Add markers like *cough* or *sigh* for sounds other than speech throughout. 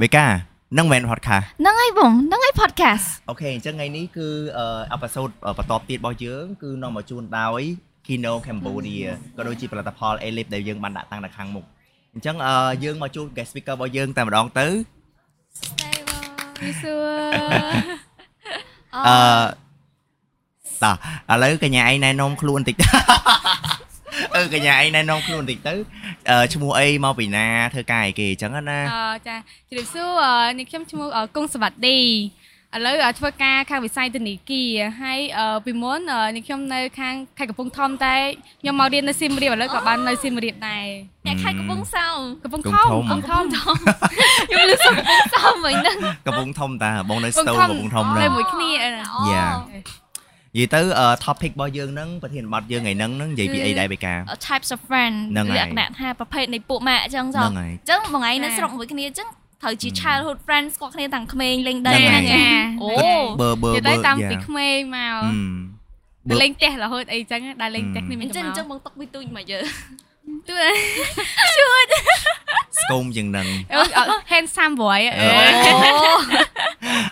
វេកានឹងមិនមែន podcast ហ្នឹងហើយបងហ្នឹងហើយ podcast អូខេអញ្ចឹងថ្ងៃនេះគឺអឺ episode បន្តទៀតរបស់យើងគឺនាំមកជូនដោយ Kino Cambodia ក៏ដូចជាផលិតផល Elip ដែលយើងបានដាក់តាំងនៅខាងមុខអញ្ចឹងអឺយើងមកជួប guest speaker របស់យើងតែម្ដងទៅ ស្ដីបងយីសួរ អឺតោះឥឡូវកញ្ញាឯងណែនាំខ្លួនបន្តិច អឺកញ្ញាឯងណែនាំខ្លួនបន្តិចទៅអឺឈ្មោះអីមកពីណាធ្វើការអីគេអញ្ចឹងណា អចាជម្រាបសួរអឺនេះខ្ញុំឈ្មោះអកុងសវត្តីឥឡូវអធ្វើការខាងវិស័យធនាគារហើយអពីមុនអនេះខ្ញុំនៅខាងខេត្តកំពង់ធំតែខ្ញុំមករៀននៅសៀមរាបឥឡូវក៏បាននៅសៀមរាបដែរ អ្នកខេត្តកំពង់សោម កំពង់ធំកំពង់ធំ ខ្ញុំលើសកំពង់សោមវិញហ្នឹង កំពុងធំតាបងនៅស្ទូកំពុងធំ នៅ ហ្នឹង មួយគ្នាអឺ អូ Yeah. និយាយទៅអឺ topic របស់យើងហ្នឹងប្រធានបទយើងថ្ងៃហ្នឹងហ្នឹងនិយាយពីអីដែរបេកា types of friend ហ្នឹងហើយ លក្ខណៈថាប្រភេទនៃពួកម៉ាក់អញ្ចឹងចុះ ហ្នឹង អ ហើយ ញ្ចឹងបងឯងនៅស្រុកមួយគ្នាអញ្ចឹងត្រូវជា childhood friend ស្គាល់គ្នាតាំងក្មេងលេងដី ហ្នឹងហើ ហ្នឹង យ ឯង ចា អូ អូ បើបើ និយាយ បើ ទៅតាំង យ៉ា ពីក្មេងម អឺ ក បើ លេងផ្ទះរហូតអីចឹងដែរលេងផ្ទះគ្នា អ មិន ញ្ចឹ ចឹ ង ង អញ្ចឹ ចឹ ង ង បងຕົកវិទូចមកយើ ទូ ស្គមជាងហ្នឹង អូ handsome boy អឺ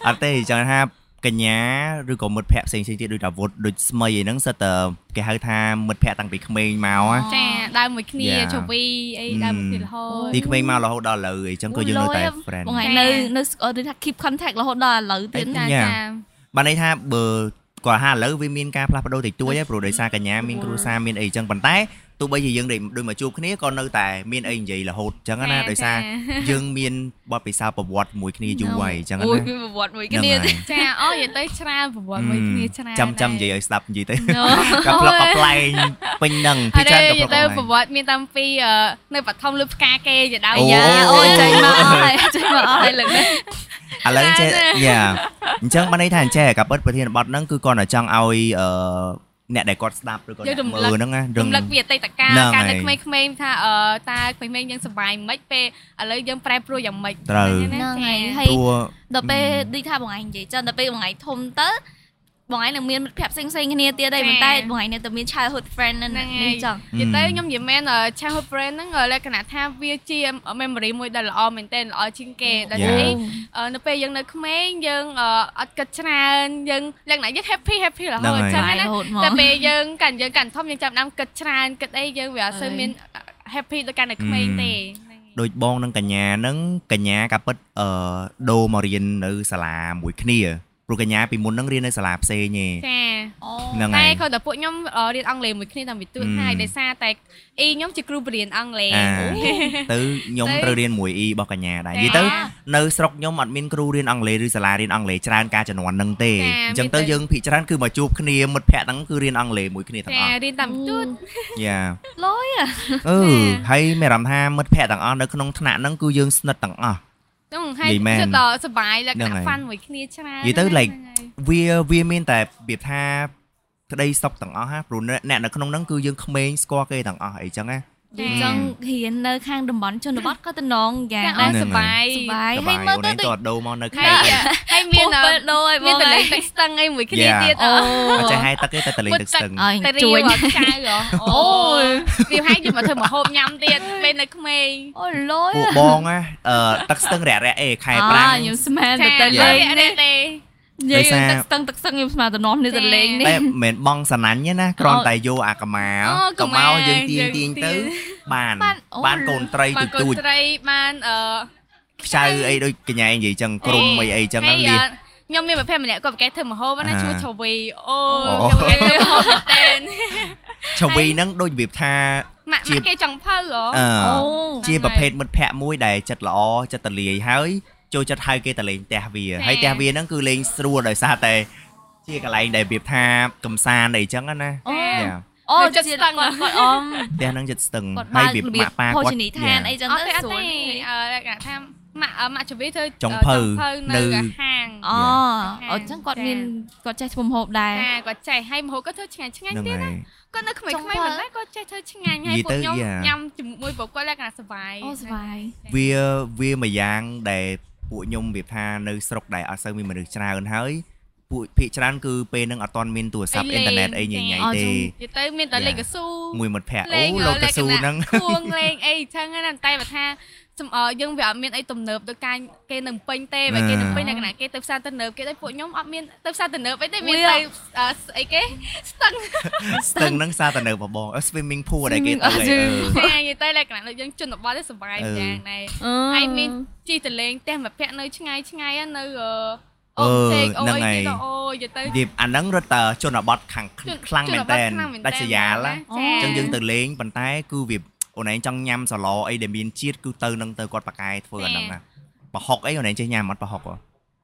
អត់ទេចង់ថាកញ្ញាឬក៏មិត្តភក្តិផ្សេងផ្សេងៗទៀតដូចអាវុធដូចស្មីអីហ្នឹងសិតតែគេហៅថាមិត្តភក្តិតាំងពីក្មេងមកណា ចាដើរមួយគ្នា Yeah. ជវីអីដើរមួយគ្នា ម រហូត ពីក្មេងមករហូតដល់ឥឡូវអីចឹងក៏យើងនៅតែ friend បងឯង ចា៎ នៅនៅស្គាល់ដូចថា keep contact រហូតដល់ឥឡូវទៀត Yeah. បានន័យថាបើគាត់ហាឥឡូវវាមានការផ្លាស់ប្ដូរតិចតួចហើយព្រោះដោយសារកញ្ញាមានគ្រួសារមានអីចឹងប៉ុន្តែទោះបីជាយើងដូចដូចមកជួបគ្នាក៏នៅតែមានអីនិយាយរហូតចឹងណាដោយសារ យើងមានបទពិសោធន៍ប្រវត្តិមួយគ្នាយូរហើយអញ្ចឹងណា អូយ ហ្នឹង គឺប្រវត្តិមួយ ហើ គ្នា យ *laughs* ចាអូនិយាយទៅច្រើនប្រវត្តិមួយគ្នាច្រើន ចាំចាំនិ យ យាយឲ្យស្ដាប់និយាយទៅ *laughs* ូ កាផ្លុកកាផ្លែងពេញហ្នឹង ហើ ពី យ ច្រើន និ កា យាយ ផ្លុកកាទៅប្រផ្លែង វត្តិមានតាំងពីអឺនៅបឋមលើផ្កាគេជាដើម អូ យ៉ា អូយ *laughs* ចេញមកអស់ហើយចេញមកអស់ហើយលើកនេះ ឥឡូវចេះយ៉ាអញ្ចឹងបានន័យថាអញ្ចេះកាពិតប្រធានបទហ្នឹងគឺគាត់តែចង់ឲ្យអឺអ្នកដែលគាត់ស្ដាប់ឬក៏អ្នកមើលហ្នឹងណា រ រឹ ំ ង លឹកពីអតីតកាល ហ្នឹង កាលតែ ហើយ ក្មេងៗថាអឺតើក្មេងៗយើងសុបាយមិនពេលឥឡូវយើងប្រែប្រួលយ៉ាងម៉េច ត្រូវ ណា ហ្នឹង ចា ហើយហើយ ព្រោះ ដល់ពេលដូចថាបងឯងនិយាយចឹងដល់ពេលបងឯងធំទៅបងឯងនឹងមានមិត្តភក្តិផ្សេងផ្សេងៗគ្នាទៀតដែរប៉ុន្តែបងឯងនៅតែមាន childhood friend នៅនេះចឹង និយាយទៅខ្ញុំនិយាយមែនអឺ childhood friend ហ្នឹងអឺលក្ខណៈថាវាជា memory មួយដែលល្អមែនទែនល្អជាងគេដល់ Yeah. នេះ អឺនៅពេលយើងនៅក្មេងយើងអឺអត់គិតច្រើនយើងលក្ខណៈយើង happy happy រហូត ហ្នឹងហើចឹងហើយរយណា ហូតមក តែពេលយើងកាន់យើងកាន់ធំយើងចាប់ផ្ដើមគិតច្រើនគិតអីយើងវាអត់សូវមាន happy ដូចកាន់តែក្មេងទេ ដូចបងនិងកញ្ញាហ្នឹងកញ្ញាកាពិតអឺដូរមករៀននៅសាលាមួយគ្នាព្រោះកញ្ញាពីមុនហ្នឹងរៀននៅសាលាផ្សេងឯង ចា អូ ហ្នឹង តែ ហើយ គាត់តែពួកខ្ញុំអឺរៀនអង់គ្លេសមួយគ្នាតាមវិទ្យុ អឺ ហើយដោយសារតែអ៊ីខ្ញុំជាគ្រូបរៀនអង់គ្លេស អាទៅខ្ញុំ ទៅ ត្រូវរៀនមួយ E របស់កញ្ញា *laughs* ដែរនិយាយចា៎ទៅនៅស្រុកខ្ញុំអត់មានគ្រូរៀនអង់គ្លេសឬសាលារៀនអង់គ្លេសច្រើនការចំនួនហ្នឹងទេ ចា៎ អញ្ចឹង មាន ទៅ តែ យើងភាគច្រើនគឺមកជួបគ្នាមិត្តភ័ក្តិហ្នឹងគឺរៀនអង់គ្លេសមួយគ្នាទាំង ចា អស់ រៀនតាមវិទ្យុ យ៉ា លយអ่ะ អឺ ចា៎ ហើយមានអារម្មណ៍ថាមិត្តភ័ក្តិទាំងអស់នៅក្នុងថ្នាក់ហ្នឹងគឺយើងស្និទ្ធទាំងអស់ ហ្នឹងហើយ និយាយមែន គឺដល់សុបាយលក្ខ ហ្នឹង ណៈ ហើយ fun មួយគ្នាច្រើន និយាយទៅ ហ្នឹង like វាវាមានតែរបៀបថាក្តីសុខទាំងអស់ហ่าព្រោះអ្នកនៅក្នុងហ្នឹងគឺយើងក្មេងស្គាល់គេទាំងអស់អីចឹងណា អញ្ចឹងរៀននៅខាងតំបន់ជនបទក៏តំណងយ៉ាង ចាអ ដែរ ស់ ហ្នឹ សុ ងហើ បាយ យ សុបាយ សុ ហើយមើលអូនឯងទៅដូច ក៏ដូរមកនៅ ហើ *laughs* ខេ យ ត្ត ហើយ មា មាន ន អឺ ពេលដូច មាបងឯនតលេង ង ទឹកស្ទឹងអីមួយគ្នា Yeah. ទៀត អូ អូ អត់ចេះហែកទឹកទេតែតលេង ពុទឹតក ទឹក ស្ទឹង អើយ ទៅ ជួ រៀ យ វអត់ចៅហ៎អូយវាហែកយកមកធ្វើម្ហូបញ៉ាំទៀតពេលនៅក្មេង អូលយ ពួកបអ่ะងណាអឺទឹកស្ទឹងរាក់រាក់ៗអេខែប្រាំង អ่าខ្ញុំស្មានទៅ ចា ទៅ អ លេង ត់ នេះ ទេទេ និ និ យា យា យ យ ថា ទឹកស្ទឹងទឹកស្ទឹងខ្ញុំស្មានតំណនេះ ចា៎ ទៅលេងនេះ តែមិនមែនបងសណាញ់ទេណាគ្រាន់តែយកអាកម៉ា អូ ក ក ម៉ា ម៉ា យើងទាញ យើង ទាញទៅ ទាញ បាន បានអូ បានកូនត្រី បា ទូចទូនកូនច ត្រីបានអឺ ខ្ចៅអីដូចកញ្ញាឯងនិយាយចឹងក្រុមអីអីចឹង ហ ហ្នឹងលៀស អឺខ្ញុំមានប្រភេទម្នាក់គាត់ប្រកែកធ្វើម្ហូបណា អា ឈ្មោះឆូវីអូ អូ គាត់ប្រកែកធ្វើម្ហូបមែនតែន ឈវីហ្នឹងដូចរបៀបថា ម៉ាក់ ជា ម៉ាក់គេចង់ផៅហ៎ អឺ អូ ជាប្រភេទមិត្តភ័ក្តិមួយដែលចិត្តល្អចិត្តតលាយហើយចូលចិត្តហើយគេតលេងផ្ទះវា ចា៎ ហើយផ្ទះវាហ្នឹងគឺលេងស្រួលដោយសារតែជាកន្លែងដែលរបៀបថាកំសាន្តអីចឹងណា អូ ចា៎ យ៉ា អូ នៅចិត្ត ជា ស្ទឹង គាត់គាត់អម ផ្ទះហ្នឹងចិត្តស្ទឹង គាត់ ហើយរបានបៀប របៀ ម៉ា ប ក់ប៉ា ភោ គាត់ ជនីយដ្ឋាន យ៉ា អីចឹង អត់ ទៅ ទេអត់ ស្រួល ទេអឺលក្ខណៈថាម៉ាក់អឺម៉ាក់ឆូវីធ្វើ ចុងភៅ ចុងនៅ នៅ ហាង អូអូចឹងគាត់ ចា៎ មានគាត់ចេះធ្វើម្ហូបដែរ ចាគាត់ចេះហើយម្ហូបគាត់ធ្វើឆ្ងាញ់ឆ្ងាញ់ ហ្នឹង ទៀត ហើយ គាត់នៅក្មេង ចុ ៗ ង មិន ភៅ ដែរគាត់ចេះធ្វើឆ្ងាញ់ហើយ និយាយ ពួក ទៅ yeah. ខ្ញុំញ៉ាំជាមួយពួកគាត់លក្ខណៈសុវ័យ អូសុវ័យ វាវាមួយយ៉ាងដែលពួកខ្ញុំរៀបថានៅស្រុកដែលអត់សូវមានមនុស្សច្រើនហើយពួកភាគច្រើនគឺពេលហ្នឹងអត់ទាន់មានទូរស័ព្ទ អី អ៊ីនធឺណិត លេង អីញញ៉ៃ ចាទេ៎និយាយទៅមានតែ Yeah. លេងកស៊ូ មួយមិត្តភ័ក្តិ លេ អូ ង លោកកស៊ូ លក្ខណៈ ហ្នឹង ខួងលេងអីចឹងណាតែបើថា អឺយើងវាអត់មានអីទំនើបដូចការគេនឹងពេញទេបើគេនឹងពេញតែគណៈគេទៅផ្សារទំនើបគេដូចពួកខ្ញុំអត់មានទៅផ្សារទំនើបអីទេមានទៅអឺស្អី *laughs* គេស្ទឹង ស្ទឹងហ្នឹងសារតែនៅបបង swimming pool ដែលគេទៅឯងអឺ តែនិយាយទៅលក្ខណៈដូចយើងជនបទទេសុបាយ អឺ ម្យ៉ាងដែរ អ ហើយ ឺ មានជីតលេងផ្ទះមកភ័ក្រនៅឆ្ងាយឆ្ងាយហ្នឹងនៅអឺ អឺ អូខេអូ ហ្នឹង យ ហើយ ទៅអូយនិនិយាយទៅ *laughs* យាយអាហ្នឹងរត់តជនបទខាងខ្លាំងមែនតើដាច់ស្រយាលណា អូ អញ្ចឹង ចា យើងទៅលេងប៉ុន្តែគឺវាអូនឯងចង់ញ៉ាំសាឡអីដែលមានជាតិគឺទៅនឹងទៅគាត់ប៉ាកែធ្វើអាហ្នឹងណាប្រហុកអីអូនឯងចេះញ៉ាំអត់ប្រហុកហ៎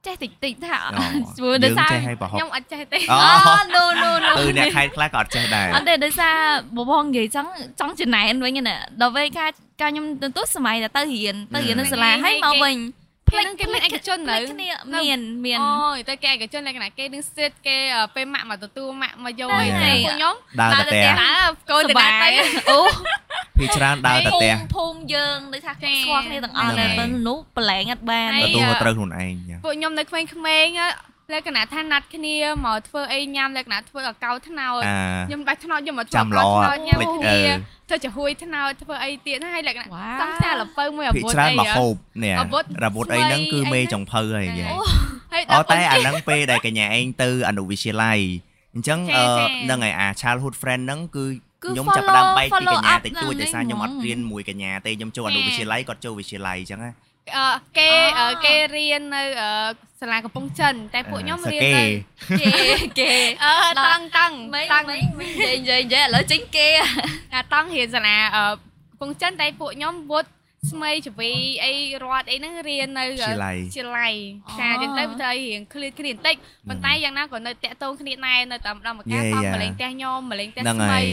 ចេះតិចតិចថាអត់ អូ ធ្វើ យើ ដោយ ង សារ ចេះឲ្យប្រហុក ខ្ញុំអត់ចេះទេ អូ អូ no no no ទៅអ្នកខេតខ្លះក៏អត់ចេះដែរ អត់ទេដោយសារបងបងនិយាយចឹងចង់ចំណែនវិញណាដល់ពេលការការខ្ញុំទៅទស្សសម័យតែទៅរៀនទៅរៀននៅសាលាហើយមកវិញ ផ្លេចគេមានឯកជននៅ នៅគ្នាមានមាន អូយតែគេឯកជនលក្ខណៈគេនឹងសិតគេអឺពេលម៉ាក់មកទទួលម៉ាក់មកយក ហ្នឹងហើយអីតែពួកខ្ញុំ ដើរតែផ្ទះ ដើរកូនទៅដើរទៅ អូ ភីច្រើនដើរតែផ្ទះ ភូមិយើងដូចថា ចា ស្គាល់គ្នាទាំងអស់នៅពេលនោះប្រឡែងអត់បាន ហើ ទៅ យ ទូត្រូវខ្លួនឯងចា ពួកខ្ញុំនៅក្មេងៗអ่ะលក្ខណៈថាណាត់គ្នាមកធ្វើអីញ៉ាំលក្ខណៈធ្វើឲ្យកោថ្នោត អា ខ្ញុំបាច់ថ្នោតខ្ញុំមកធ្វើ ចាំឡឲ្យកោ អ ថ្នោតញ៉ាំ ផ្លេចអឺ គ្នាធ្វើចាហួយថ្នោតធ្វើអីទៀតហ្នឹងហើយលក្ខណៈសវ៉ា ង្សារលពៅមួយអា ភី វុធ ច្រើន អី មក ហ៎ ហូបនេះ អាវុធ រវុធអីហ្នឹងគឺមេស្វ័យអី ចង្ភៅហើយនិយាយ *laughs* អូហើយ អូ ដល់ តែអាហ្នឹងពេលដែលកញ្ញាឯងទៅអនុវិទ្យាល័យអញ្ចឹង ចា អឺ ចា ហ្នឹងហើយអា childhood friend ហ្នឹងគឺ គឺ ខ្ញុំ follow- ចាប់ផ្ដើមបែកពីក follow ញ្ញា up តិចតួច ហ្នឹង ដោយសារខ្ញុំ ហ្ម អ ង ត់រៀនមួយកញ្ញាទេខ្ញុំចូលអ ចា នុវិទ្យាល័យគាត់ចូលវិទ្យាល័យអញ្ចឹងណា អឺគេ អ่า អឺគេរៀននៅអឺសាលាកំពង់ចិនតែពួកខ្ញុំ អឺ រៀន សាកេ នៅ គេ *laughs* គេ អឺតង់តង់ មិន ត តាំង ង់ និយាយនិយាយនិយាយឥឡូវចេញគេ អាតង់រៀនសាលាអឺកំពង់ចិនតែពួកខ្ញុំវុទ្ធស្មីជវីអីរត់អីហ្នឹងរៀននៅ វិ អឺ ទ្យាល័យ ជាឡៃចាចឹងទៅវាត្រូវឲ្យរៀងឃ្លាតគ្នាបន្តិចប៉ុន្តែយ៉ាងណាក៏នៅតាក់ទងគ្នាដែរនៅតាមម្ដងម្កាល Yeah, ផង yeah. ម្លេងផ្ទះខ្ញុំម្លេងផ្ទះ ហ្នឹងហើស្មីយ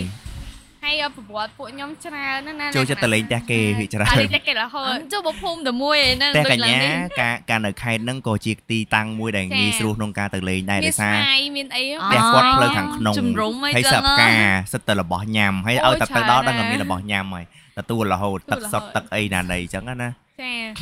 ហើយប្រវត្តិពួកខ្ញុំច្រើនណាស់ណា ចូលចិត្តទៅលេងផ្ទះគេវិច្រើន អត់លេងផ្ទះគេរហូត ចូលមកភូមិតែមួយឯហ្នឹង តែក ដូចឡើង ញ្ញា នេះ ការការនៅខេត្តហ្នឹងក៏ជាទីតាំងមួយដែល ចា ងាយស្រួលក្នុងការទៅលេងដែរដោយមានសារស្វាយមានអី អ่ ផ្ទះគាត់ផ្លូវខាងក្នុង ជំរុំអី ហើយ ចឹ សិ ង ប ហ៎ ការសិតទៅរបស់ញ៉ាំហើយឲ្យតែទៅដល់ដឹងថាមានរបស់ញ៉ាំហើយទទួលរហូតទឹកសុទ្ធទឹកអីណានៃអញ្ចឹងណា ចា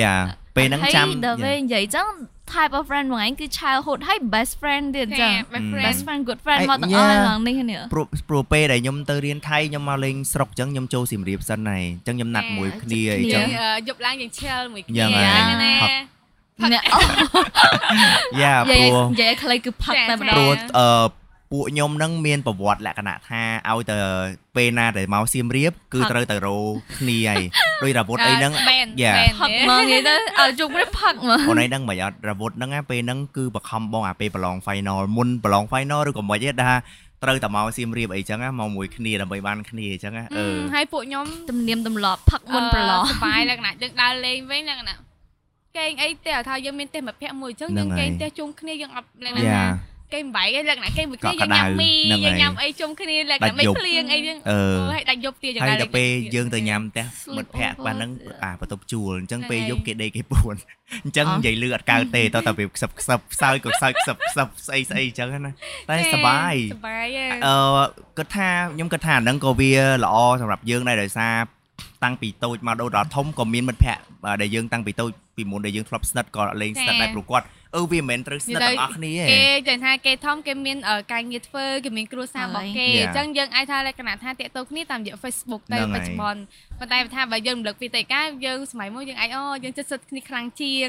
យ៉ាពេលហ្នឹងចាំ ហើយដល់ពេលនិយាយចឹង type of friend បងឯងគឺ childhood ហើយ best friend ទៀត ចា ចឹង my ហ្មង best friend friend good friend ឯង មកទាំងអស់ ញ៉ា ហើយឡើងនេះគ្នា ព្រោះព្រោះពេលដែលខ្ញុំទៅរៀនថៃខ្ញុំមកលេងស្រុកអញ្ចឹងខ្ញុំចូលសៀមរាបសិនហើយអញ្ចឹងខ្ញុំណាត់មួយគ្នាអី គ្នា ចឹ យើង ងអឺយប់ឡើងយើងឈិលមួយ យ៉ាង គ្នា ហើយ ណា អ្នកអូ យ៉ា និយាយ ព្រោះ និយាយឲ្យខ្លីគឺផឹកតែម្ដ ចា ព្រោះ ង អឺពួកខ្ញុំហ្នឹងមានប្រវត្តិលក្ខណៈថាឲ្យទៅពេលណាដែលមកសៀមរាបគឺ ផឹក ត្រូវទៅរោគ្នាហើយដោយរវត់អីហ្នឹង បែន Yeah. បែន ផឹកមកនិយាយ *laughs* ទៅឲ្យជុំនេះផឹកមក អូនឯងហ្នឹងមិនអត់រវត់ហ្នឹងណាពេលហ្នឹងគឺបខំបងអាពេលប្រឡង final មុនប្រឡង final ឬក៏មិនទេថាត្រូវតែមកសៀមរាបអីចឹងណាមកមួយគ្នាដើម្បីបានគ្នាអញ្ចឹងណាអឺ មហើយពួកខ្ញុំ ទំនៀមទម្លាប់ផឹកមុនប្រឡង សុបាយលក្ខណៈយើងដើរលេងវិញលក្ខណៈគេងអីទេឲ្យថាយើងមានទេមិត្តភក្តិមួយអញ្ចឹង ហ្នឹងហើយយើងគេងទេជុំគ្នាយើងអត់លក្ខណៈ យ៉ា ថាគេងបាយឯងលក្ខណៈគេងមួយគ្នា ក យើក់ក្ដៅងញ៉ាំមី ហ្នឹងហើយយើងញ៉ាំអីជុំគ្នាលក្ខ ដា ណៈ ច់ មិន យប់ ភ្លៀងអីយើង អឺ អូហើយដាច់យប់ទៀតយើង ហើយ ដើរលេ ដល់ ង ពេល គ្នា យើងទៅញ៉ាំផ្ទះ Sleep មិត្តភ័ក្តិ over ប៉ណ្ណឹងអាបន្ទប់ជួលអញ្ចឹង ហ្នឹង ពេលយ ហើយ ប់គេដេកគេពួន *laughs* អញ្ចឹង អ่ะ និយាយលឺអត់កើតទេតោះតែពេលខ្សឹបខ្សឹបខ្សោយក៏ខ្សោយខ្សឹបខ្សឹបស្អីស្អីអញ្ចឹងណាតែ ចា សប្បាយ សុបាយឯង អឺគិតថាខ្ញុំគិតថាអាហ្នឹងក៏វាល្អសម្រាប់យើងដែរដោយសារតាំងពីតូចមកដល់ដល់ធំក៏មានមិត្តភ័ក្តិដែលយើងតាំងពីតូចពីមុនដែលយើងធ្លាប់ស្និទ្ធក៏លេងស្និទ្ធដែរព្រោះគាត់អឺវាមិនមែនត្រូវស្និទ្ធទាំងអស់គ្នាទេ គេចេះថាគេធំគេមានអឺការងារធ្វើគេមានគ្រួសាររបស់គេ ហើយ អញ្ចឹងយើងអាចថាលក្ខណៈថាតាក់ទងគ្នាតាមរយៈ Facebook ទៅ ហ្នឹងហើយ បច្ចុប្បន្នប៉ុន្តែបើថាបើយើងរំលឹកពីតែកាលយើងសម័យមួយយើងអាចអូយើងចិត្តសិតគ្នាខ្លាំងជាង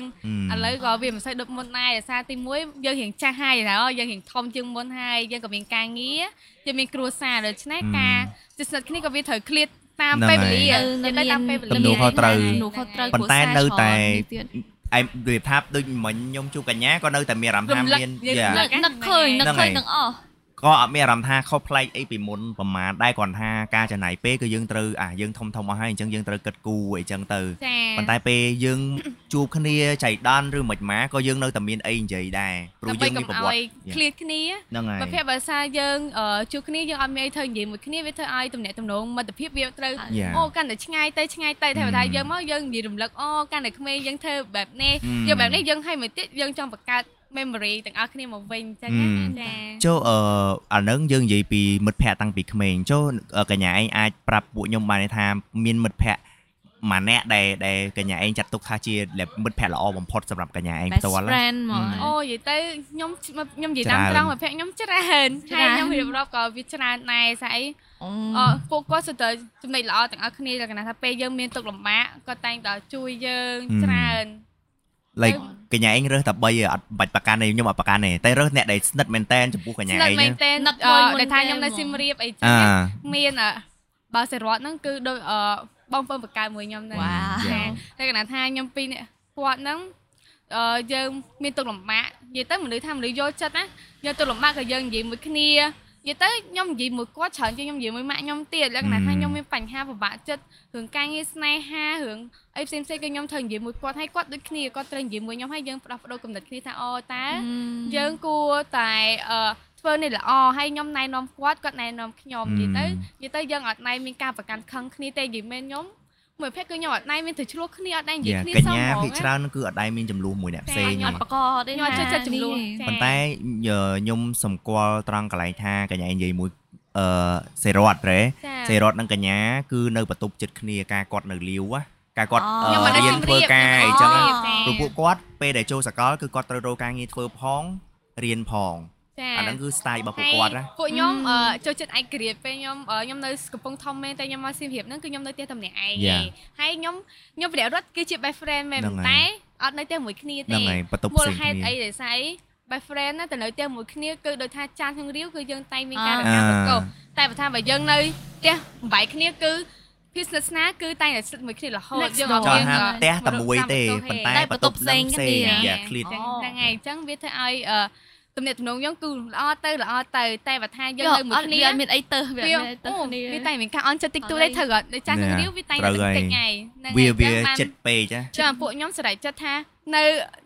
ឥឡូវក៏វាមិនសូវដូចមុនដែរដោយសារទី1យើងរៀងចាស់ហើយហើយយើងរៀងធំជាងមុនហើយយើងក៏មានការងារយើងមានគ្រួសារដូច្នេះ អឺ ការជិះស្និទ្ធគ្នាក៏វាត្រូវឃ្លាតតាម ហ្នឹង ពេលវេ ហើយ លា នៅ និយាយទៅតាមពេលវេ ទំនួ លា លខុសត្រូវ ទំនួលខុសត្រូវ ប៉ុន្តែនៅតែ គ្រួឯសារងនិយាយថាដូចមិញខ្ញុំជួបកញ្ញាក៏នៅតែមានអារម្មណ៍ រំ ថា លឹក មាន យើង យ៉ា រំ ឆ្ល លឹ ងនឹកនឹកកឃើ ឃើ ញ ញនឹ នឹកឃើញនឹកឃើញទាំង ង អ អ ស់ ស់ ក៏អត់មានអារម្មណ៍ថាខុសប្លែកអីពីមុនប្រមាណដែរគ្រាន់ថាការចំណាយពេលគឺយើងត្រូវអាយើងធំធំអស់ហើយអញ្ចឹងយើងត្រូវគិតគូរអីចឹងទៅ ចា ប៉ុន្តែពេលយើង *coughs* ជួបគ្នាចៃដន្យឬមិនម៉ាក៏យើងនៅតែមានអីនិយាយដែរព្រោះ ដើយើងមាម្បីកុំ នប្រវ អោ ត្តិ យឃ្លាតគ្នា ហ្នឹងហើយ បើភាពបើសារយើងអឺជួបគ្នាយើងអត់មានអីធ្វើនិយាយមួយគ្នាវាធ្វើឲ្យទំនាក់ទំនងមិត្តភាពវាត្រូវ Yeah. អូកាន់តែឆ្ងាយទៅឆ្ងាយទៅតែបើថា អឺ យើងមកយើងនិយាយរំលឹកអូកាន់តែក្មេងយើងធ្វើបែបនេះ អឺ យើងបែបនេះយើងឲ្យមួយទៀតយើងចង់បង្កើត memory ទាំងអស់គ្នាមកវិញអញ្ចឹងណាចា ចូលអឺអាហ្នឹងយើងនិយាយពីមិត្តភ័ក្តិតាំងពីក្មេងចូលអឺកញ្ញាឯងអាចប្រាប់ពួកខ្ញុំបានទេថាមានមិត្តភ័ក្តិ ម៉ាអ្នកដែលដែលកញ្ញាឯងចាត់ទុកថាជាមិត្តភក្តិល្អបំផុតសម្រាប់កញ្ញាឯង best ផ្ទាល់ហ្នឹង friend ហ្មង ម អូនិយាយទៅខ្ញុំខ្ញុំនិយាយ ច្រើ តានមត្រង់មកភ័ក្រខ្ញុំច្រើន ច្រើ ហើយ ន ខ្ញុំរៀបរាប់ក៏វាច្រើនដែរស្អី អូ អពួកគាត់សុទ្ធតែចំណេចល្អទាំងអស់គ្នាលក្ខណៈថាពេលយើងមានទុក្ខលំបាកគាត់តែងតែជួយយើង អឺ ច្រើន លេខកញ្ញាឯងរើសតែ3អត់បាច់ប្រកាន់ទេខ្ញុំអត់ប្រកាន់ទេតែរើសអ្នកដែលស្និទ្ធមែនតែនចំពោះកញ្ញាឯស្និទ្ធ ងហ្នឹមែង នទេ នឹ នឹ ក ក ឃើញមុន ដែលពេលហ្មងថាខ្ញុំនៅស៊ីមរៀបអីចឹ អា ងមានអបើសេរ៉ាត់ហ្នឹងគឺដូចអបងប្អូនបកកៅមួយខ្ញុំហ្នឹង វ៉ា ចា វ តែគណៈថាខ្ញុំពីរនាក់គាត់ហ្នឹងអឺយើងមានទុកលំបាកនិយាយទៅមនុស្សថាមនុស្សយកចិត្តណាយកទុកលំបាកក៏យើងនិយាយមួយគ្នានិយាយទៅខ្ញុំនិយាយមួយគាត់ច្រើនជាងខ្ញុំនិយាយមួយម៉ាក់ខ្ញុំទៀតលក្ខណៈមថាខ្ញុំមានបញ្ហាពិបាកចិត្តរឿងការងារស្នេហារឿងអីផ្សេងៗគឺខ្ញុំត្រូវនិយាយមួយគាត់ហើយគាត់ដូចគ្នាគាត់ត្រូវនិយាយមួយខ្ញុំហើយយើងផ្ដោះប្ដូរកំណត់គ្នាថាអូតើយើងគួរតែអឺធ្វើនេះល្អហើយខ្ញុំណែនាំគាត់គាត់ណែនាំខ្ញុំនិយាយទៅ និយាយទៅយើងអត់ណៃមានការប្រកាន់ខឹងគ្នាទេនិយាយមែនខ្ញុំមួយភេទគឺខ្ញុំអត់ណៃមានទៅឆ្លោះគ្នាអត់ណៃនិយាយ យ៉ា គ្នា ក សោះ ញ្ញា ហ្ម ភាគ ង ច្រើនហ្នឹងគឺអត់ដែរមានចំនួនមួយអ្នកផ្សេងទេចាអត់ប្រកបទេ ខ្ញុំអត់ចូលចិត្តចំនួន ប៉ុន្តែញខ្ញុំសម្គាល់ត្រង់កន្លែងថាកញ្ញានិយាយមួយអឺសេរ៉ាត់ប្រេ ចា សេរ៉ាត់និងកញ្ញាគឺនៅបន្ទប់ចិត្តគ្នាការគាត់នៅលាវណាការគាត់អឺរៀខ្ញុំមិនដឹងនធ្វើការអីចឹងណា ចា ព្រោះពួកគាត់ពេលដែលចូលសកលគឺគាត់ត្រូវរកការងារធ្វើផងរៀនផង ចា អាហ្នឹងគឺ style របស់ពួកគាត់ណា ពួកខ្ញុំ អឺ អឺចូលចិត្តឯករាជ្យពេលខ្ញុំអឺខ្ញុំនៅកំពង់ធំមែនតែខ្ញុំមកសៀមរាបហ្នឹងគឺខ្ញុំនៅផ្ទះតែម្នាក់ឯងឯងហើយខ្ញុំខ្ញុំព្រះរត់គឺជា best friend មែនប៉ុន្តែអត់នៅផ្ទះមួយគ្នា ហ្នឹង ទេ ហើយបន្ទប់ មូលផ្សេង ហេតុ គ្នា អីដែលស្អី best friend ណាតែនៅផ្ទះមួយគ្នាគឺដូចថាចានក្នុងរាវគឺយើងតែងមានការរ អ่า កាប្រកប តែបើថាបើយើងនៅផ្ទះបែកគ្នាគឺភាពស្និទ្ធស្នាលគឺតែងតែស្និទ្ធមួយគ្នារហូត Next យើង door ចង់ យើង ហាមផ្ទះតែមួយទេ ម ប៉ុ រន្តែបន្ទកតាមប់ផ្សេងផ្សេង តែ យ៉ាឃ្លីត ប្រ អូ ទប់ហ្នឹងហើយអញ្ចឹងវាធ្វើឲ្យអឺទំនាក់ទំនងយើងគឺល្អទៅល្អទៅតែបើថាយើង យើងអត់នៅមួយគ្នា មានអត់មានអីទៅវាអត់មានអីទៅ អូ គ្នា វាតែងមានការអន់ចិត្តតិចតួចដែរត្រូវអត់ដូចចាស់ក្នុង ណា រាវវាតែងតែ ត្រូវហើយ តិចថ្ងៃហ្នឹង វា ហើយ វា អញ្ចឹងបាន ចិត្តពេកណា ចាំពួកខ្ញុំសម្រេចចិត្តថានៅ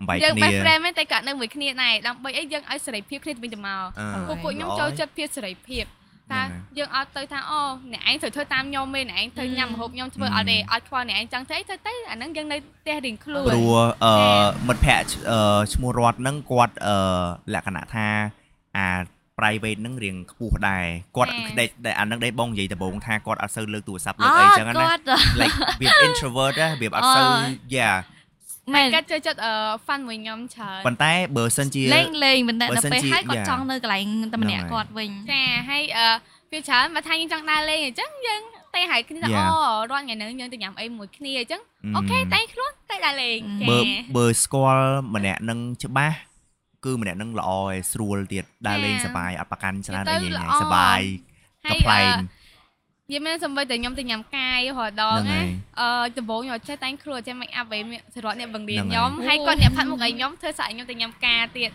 បែក យើង គ្នា បែក friend មែនតែក៏នៅមួយគ្នាដែរដើម្បីអីយើងឲ្យសេរីភាពគ្នាទៅវិញទៅមក អឺ ពួកពួកខ្ញុំ ល្អ ចូលចិត្តភាពសេរីភាព ហ្នឹ តែ ងហើយ យើងអត់ទៅថាអូអ្នកឯងត្រូវធ្វើតាមខ្ញុំទេអ្នកឯងត្រូវ ហ្នឹ ញ៉ាំ ង ម្ហូបខ្ញុំធ្វើ ហ្នឹ អ ង ត់ទេអត់ខ្វល់អ្នកឯងចង់ធ្វើអីធ្វើទៅអាហ្នឹងយើងនៅផ្ទះរៀងខ្លួន ព្រោះអឺមិត្តភក្តិអឺឈ្មោះរតហ្នឹងគាត់អឺលក្ខណៈថាអា private ហ្នឹងរៀងខ្ពស់ដែរគាត់ ចា៎ ដែលដែលអាហ្នឹងដែរបងនិយាយដំបូងថាគាត់អត់សូវលើកទូរស័ព្ទលើ អូ កអីចឹងណា គាត់ *laughs* like វា introvert ណាវាអត់សូវ អឺ yeah មែន គាត់ចូលចិត្តអឺ fan មួយខ្ញុំច្រើន ប៉ុន្តែបើសិនជា លេងលេងប៉ុន្តែ បើ ដល់ សិន ពេល ជា ហើយគាត់ Yeah. ចង់នៅកន្លែងតែម្នាក់គាត់វិញ ចាហើយអឺវាច្រើនបើថាយើងចង់ដើរលេងអញ្ចឹងយើងតែហៅគ្នាថា Yeah. អូរាល់ថ្ងៃហ្នឹងយើងទៅញ៉ាំអីមួយគ្នាអញ្ចឹង ម អូខេតែខ្លួនតែដើរលេងបើហ្នឹចា បើស្គាល់ម្នាក់ហ្នឹងច្បាស់គឺម្នាក់ហ្នឹងល្អឯងស្រួលទៀតដើរលេង ចា៎ សប្បាយអត់ប្រកាន់ច្រើនអី និយាយទៅ ញ៉ៃ ល្អ សប្បាយ ហើ កំ យ ប្លែង និយាយមែនសំបីតែខ្ញុំទៅញ៉ាំកាយរហូតដល់ ហ្នឹង ណា ហើយ អឺដំបូងខ្ញុំចេះតែងគ្រូចេះ make up វិញសរុបអ្នកបង្រៀន ហ្នឹងហើយ ខ្ញុំហើយគាត់អ្នកផាត់មុខឲ្យខ្ញុំធ្វើស្អាតខ្ញុំទៅញ៉ាំការទៀត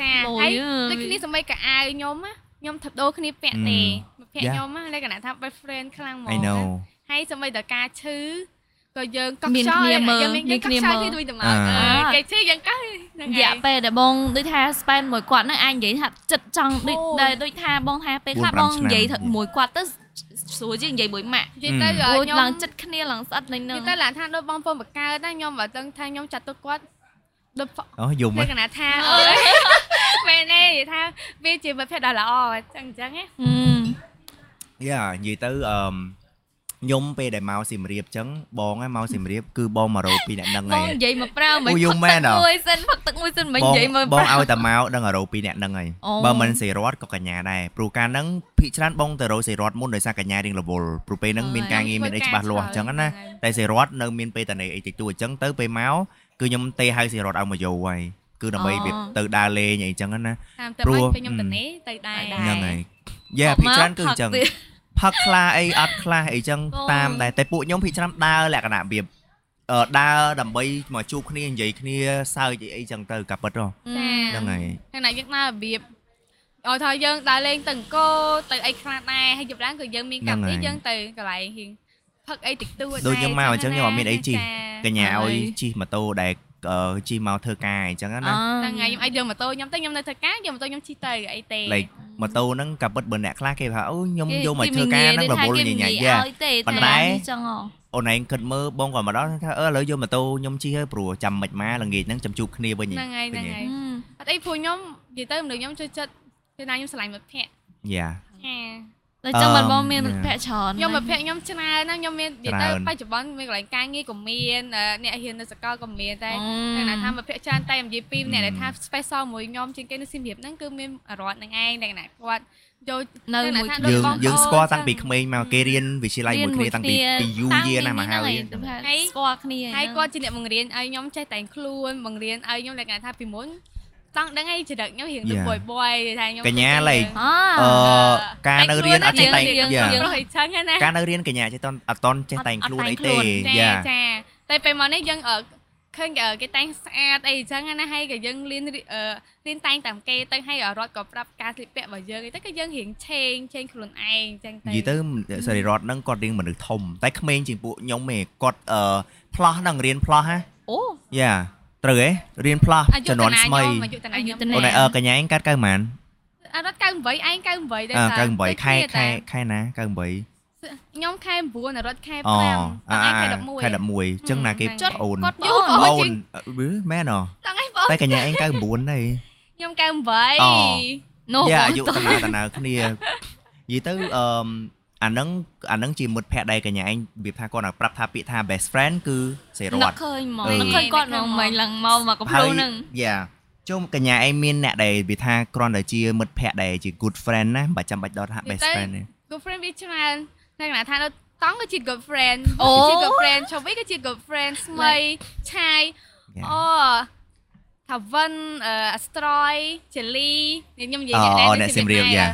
ចា លុយ ហើអើយយ ដូចគ្នាសម័យកៅអាវខ្ញុំណាខ្ញុំថបដូរគ្នាពាក់ទេមកពាក់ខ្ញុំណាលក្ខណៈថា best friend ខ្លាំងហ្ម I ងណា know ហើយសម័យតការឈឺក៏យើងកក់ មាន ចោល គ្នា យើង មើល មានយើងក មាន ក់ គ្នា ចោល មើល គ្នាទៅវិញទៅមក អ่า អឺគេឈឺយើងកក់ហ្នឹង រយៈ ហើយ ពេលដែលបងដូចថា span មួយគាត់ហ្នឹងអាចនិយាយថាចិត្តចង់ដូច អូ ដែលដូចថាបងថាពេលខ្លះ 4-5 បង ឆ្នាំ និយាយមួយគាត់ទៅស្រួលជាងនិយាយមួយម៉ាក់ និយាយទៅ អឺ អឺ អូយ ខ្ញុំ ឡើងចិត្តគ្នាឡើងស្អិតលេងហ្នឹង និយាយទៅឡើងថាដូចបងប្អូនបកកើតណាខ្ញុំបើដឹងថាខ្ញុំចាត់ទុកគាត់ដូច អូយំ ល ហ៎ ក្ខណៈថាអើយមែនទេនិយាយថាវាជាមិត្តភក្តិដ៏ល្អអញ្ចឹងអញ្ចឹងណា យ៉ានិយាយទៅអឺមខ្ញុំពេលដែលមកសៀមរាបអញ្ចឹងបងហ្នឹងមកសៀមរាបគឺបងមករកពីអ្នកដឹង ប ហ្នឹងឯងង និយាយមកប្រើមិន អូយយំមែនហ៎ មួយសិនផឹកទឹកមួយសិនមិន បង និយាយមក ប ប្រើ ងឲ្យតែមកដឹងរកពីអ្នកហ្នឹងឯង អូ បើមិនសេរត់ក៏កញ្ញាដែរព្រោះកាលហ្នឹងភិកច្រើនបងទៅរកសេរត់មុនដោយសារកញ្ញារៀងរវល់ព្រោះពេលហ្នឹងមានការងារមានអីច្បាស់លាស់អញ្ចឹងណាតែសេរត់នៅមានពេលតនេអីតិចតួចអញ្ចឹងទៅពេលមកគឺខ្ញុំទេហៅសេរត់ឲ្យមកយោហើយគឺដើម្បីវាទៅដើរលេងអីអញ្ចឹងណា តាមតែ ព្រោះ មកពេលខ្ញុំទៅនេះទៅដែរ ទៅដែរ ហ្នឹងហើយយ៉ាភិកច្រើនគឺអញ្ចឹង ផឹកទៀត ផឹកខ្លះអីអត់ខ្លះអីចឹង អូ តាមដែរតែពួកខ្ញុំភីច្រាំដើរលក្ខណៈរបៀបអឺដើរដើម្បីមកជួបគ្នានិយាយគ្នាសើចអីអីចឹងទៅកាពិតហ៎ហ្នឹងហើយ ហ្នឹងហើយយើងដើររបៀបអត់ថាយើងដើរលេងទៅអង្គរទៅអីខ្លះដែរហើយយប់ឡើងក៏យើងមានកម្មវិធីយើងទៅកន្លែងហៀងផឹកអីតិចតួច ដូចខ្ញុំមកអញ្ចឹងខ្ញុំអត់មានអីជី ចា កញ្ញា ហើ ឲ្យ យ ជិះម៉ូតូដែលអឺជិះមកធ្វើការអីចឹងណា អឺ ហ្នឹងហើយខ្ញុំអាចយកម៉ូតូខ្ញុំទៅខ្ញុំនៅធ្វើការយកម៉ូតូខ្ញុំជិះទៅអីទេ លេខម៉ូតូហ្នឹងកាពិតបើអ្នកខ្លះគេថាអូខ្ញុំ គេ យកមក គេ ធ្វើការ និ ហ្នឹង យ រវល់ ដូច ញ៉ៃ ថា ញ៉ៃ គេ យ៉ា និយឲ្យទេ ប៉ុន្តែ តែនេះចឹងហ៎ អូនឯងគិតមើលបងក៏មកដល់ថាអឺឥឡូវយកម៉ូតូខ្ញុំជិះហើយព្រោះចាំមិនម៉ាល្ងាចហ្នឹងចាំជួបគ្នាវិញ ហ្នឹងហើយហ្នឹងហើយអត់អីព្រោះខ្ញុំនិយាយទៅមនុស្សខ្ញុំចូលចិត្តពេលណាខ្ញុំឆ្លងមិយ៉ាត្តភក្តិចា ដល់ចឹងបង អឺ បងមាន យ៉ា មិត្តភក្តិច្រើន ខ្ញុំមកភ័ច្រើនក្រខ្ញុំច្រើនណាស់ខ្ញុំមាននិយាយទៅបច្ចុប្បន្នមានកន្លែងការងារក៏មានអឺអ្នករៀននៅសាកលក៏មានតែ អូ តែណាថាមកភាកច្រើនតែនិយាយពី ម ម្នាក់ដែលថា special មួយខ្ញុំជាងគេនៅសៀមរាបហ្នឹងគឺមានរត់នឹងឯងតែណាគាត់យក នៅមួយ តែ យើង បងប្អូន យើងស្គាល់តាំងពី ចឹង ក្មេងមកគេរៀនវិទ្យាល័យមួយគ្នាតាំងពីពីយូរយារណាស់មកហើយ ហើយស្គាល់គ្នា ហើយគាត់ជាអ្នកបង្រៀនឲ្យខ្ញុំចេះតែងខ្លួនបង្រៀនឲ្យខ្ញុំតែណាថាពីមុនចង់ដឹងឯងចរិតខ្ញុំរៀងទៅ Yeah. boy boy ថាខ្ញុំ កញ្ញា ទៅ ឡេ អូ អឺការនៅរៀនអត់ចេះតែង យើង យ៉ា រហ័យឆឹងហ្នឹងណា ការនៅរៀនកញ្ញាចេះតន់អត់តន់ចេះតែងខ្លួនអីទេ ចា យ៉ា ចាតែពេលមកនេះយើងអឺឃើញគេគេតែងស្អាតអីចឹងណាហើយក៏យើងលៀនអឺលៀនតែងតាមគេទៅហើយរត់ក៏ប្រាប់ការស្លៀកពាក់របស់យើងអីទៅក៏យើងរៀងឆេងឆេងខ្លួនឯងចឹងទៅ និយាយទៅសរីរតហ្នឹងគាត់រៀងមនុស្សធំតែក្មេងជាងពួកខ្ញុំឯងគាត់អឺផ្លោះហ្នឹងរៀនផ្លោះហ៎ អូ យ៉ាត្រូវឯងរៀនផ្លោះ អាយុ ចំ ត នួន ណា ថ្មី ខ្ញុំអាយុតណាខ្ញុំ អូនឯងអឺកញ្ញាឯងកាត់90ម៉ាន អារត់98ឯង98ដែរ អឺ តើ 98ខែ ដូច ខែ គ្នា ខែណា98 តែខ្ញុំខែ9អារត់ខែ5 អូ តើឯងខែ ខែ 11 11អញ្ចឹងណាគេ ចុត ប្អូន គាត់ យ អូនល់បង ប្អូនអឺមែនហ៎ តើឯងបង តែកញ្ញាឯង99ដែរ ខ្ញុំ អូ 98 នោះ យ៉ា បង អាយុតណាតណាគ្នានិយាយទៅអឺមអាហ្នឹងអាហ្នឹងជាមិត្តភក្តិដែរកញ្ញាឯងរបៀបថាគាត់ឲ្យប្រាប់ថាពាក្យថា best friend គឺសេរី នឹ រត កឃើញហ្មង អឺ នឹកឃើញគាត់ហ្មងមិញឡើងមកមកកំភ្លុងហ្នឹង យ៉ាជុំកញ្ញាឯងមានអ្នកដែលវាថាគ្រាន់តែជាមិត្តភក្តិដែលជា good friend ណាមិនចាំបាច់ដល់ថា និយា best យទៅ friend ទេ good friend វាច្រើនតែគណៈថាដល់តង់ក៏ជា good friend អូ ជា good friend ឈប់វិញក៏ជា good friend ស្មីឆាយ Yeah. អូថាវិនអឺអាស្រយជាលីខ្ញុំនិយាយ អូអូ នៅ អ្នកសៀមរាប ណែ យ៉ា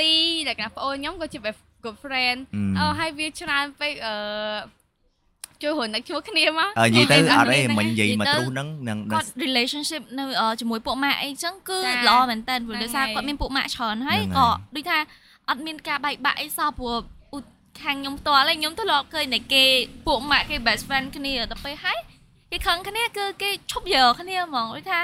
ឌីតែគណៈប្អូនខ្ញុំក៏ជា best good friend អ អូហើយវាច្រើនពេកអឺជួយរនឹកឈ្មោះគ្នាមក ឺនិយាយទៅ ខ្ញុំ អត់ទេ ដឹង មិញនិយាយមក និយាយទៅ ទ្រុសហ្នឹងនឹង គាត់ relationship នៅអឺជាមួយពួកម៉ាក់អីចឹងគឺ ចា ល្អមែនតើព្រោះដោយសាហ្នឹងរគាហើយត់មានពួកម៉ាក់ច្រើនហើយ ហ្នឹង ក៏ ហើយ ដូចថាអត់មានការបែកបាក់អីសោះព្រោះឧទខាងខ្ញុំផ្ទាល់ឯងខ្ញុំធ្លាប់ឃើញតែគេពួកម៉ាក់គេ best friend គ្នាដល់ពេលហើយគេខឹងគ្នាគឺគេឈប់យកគ្នាហ្មងដូចថា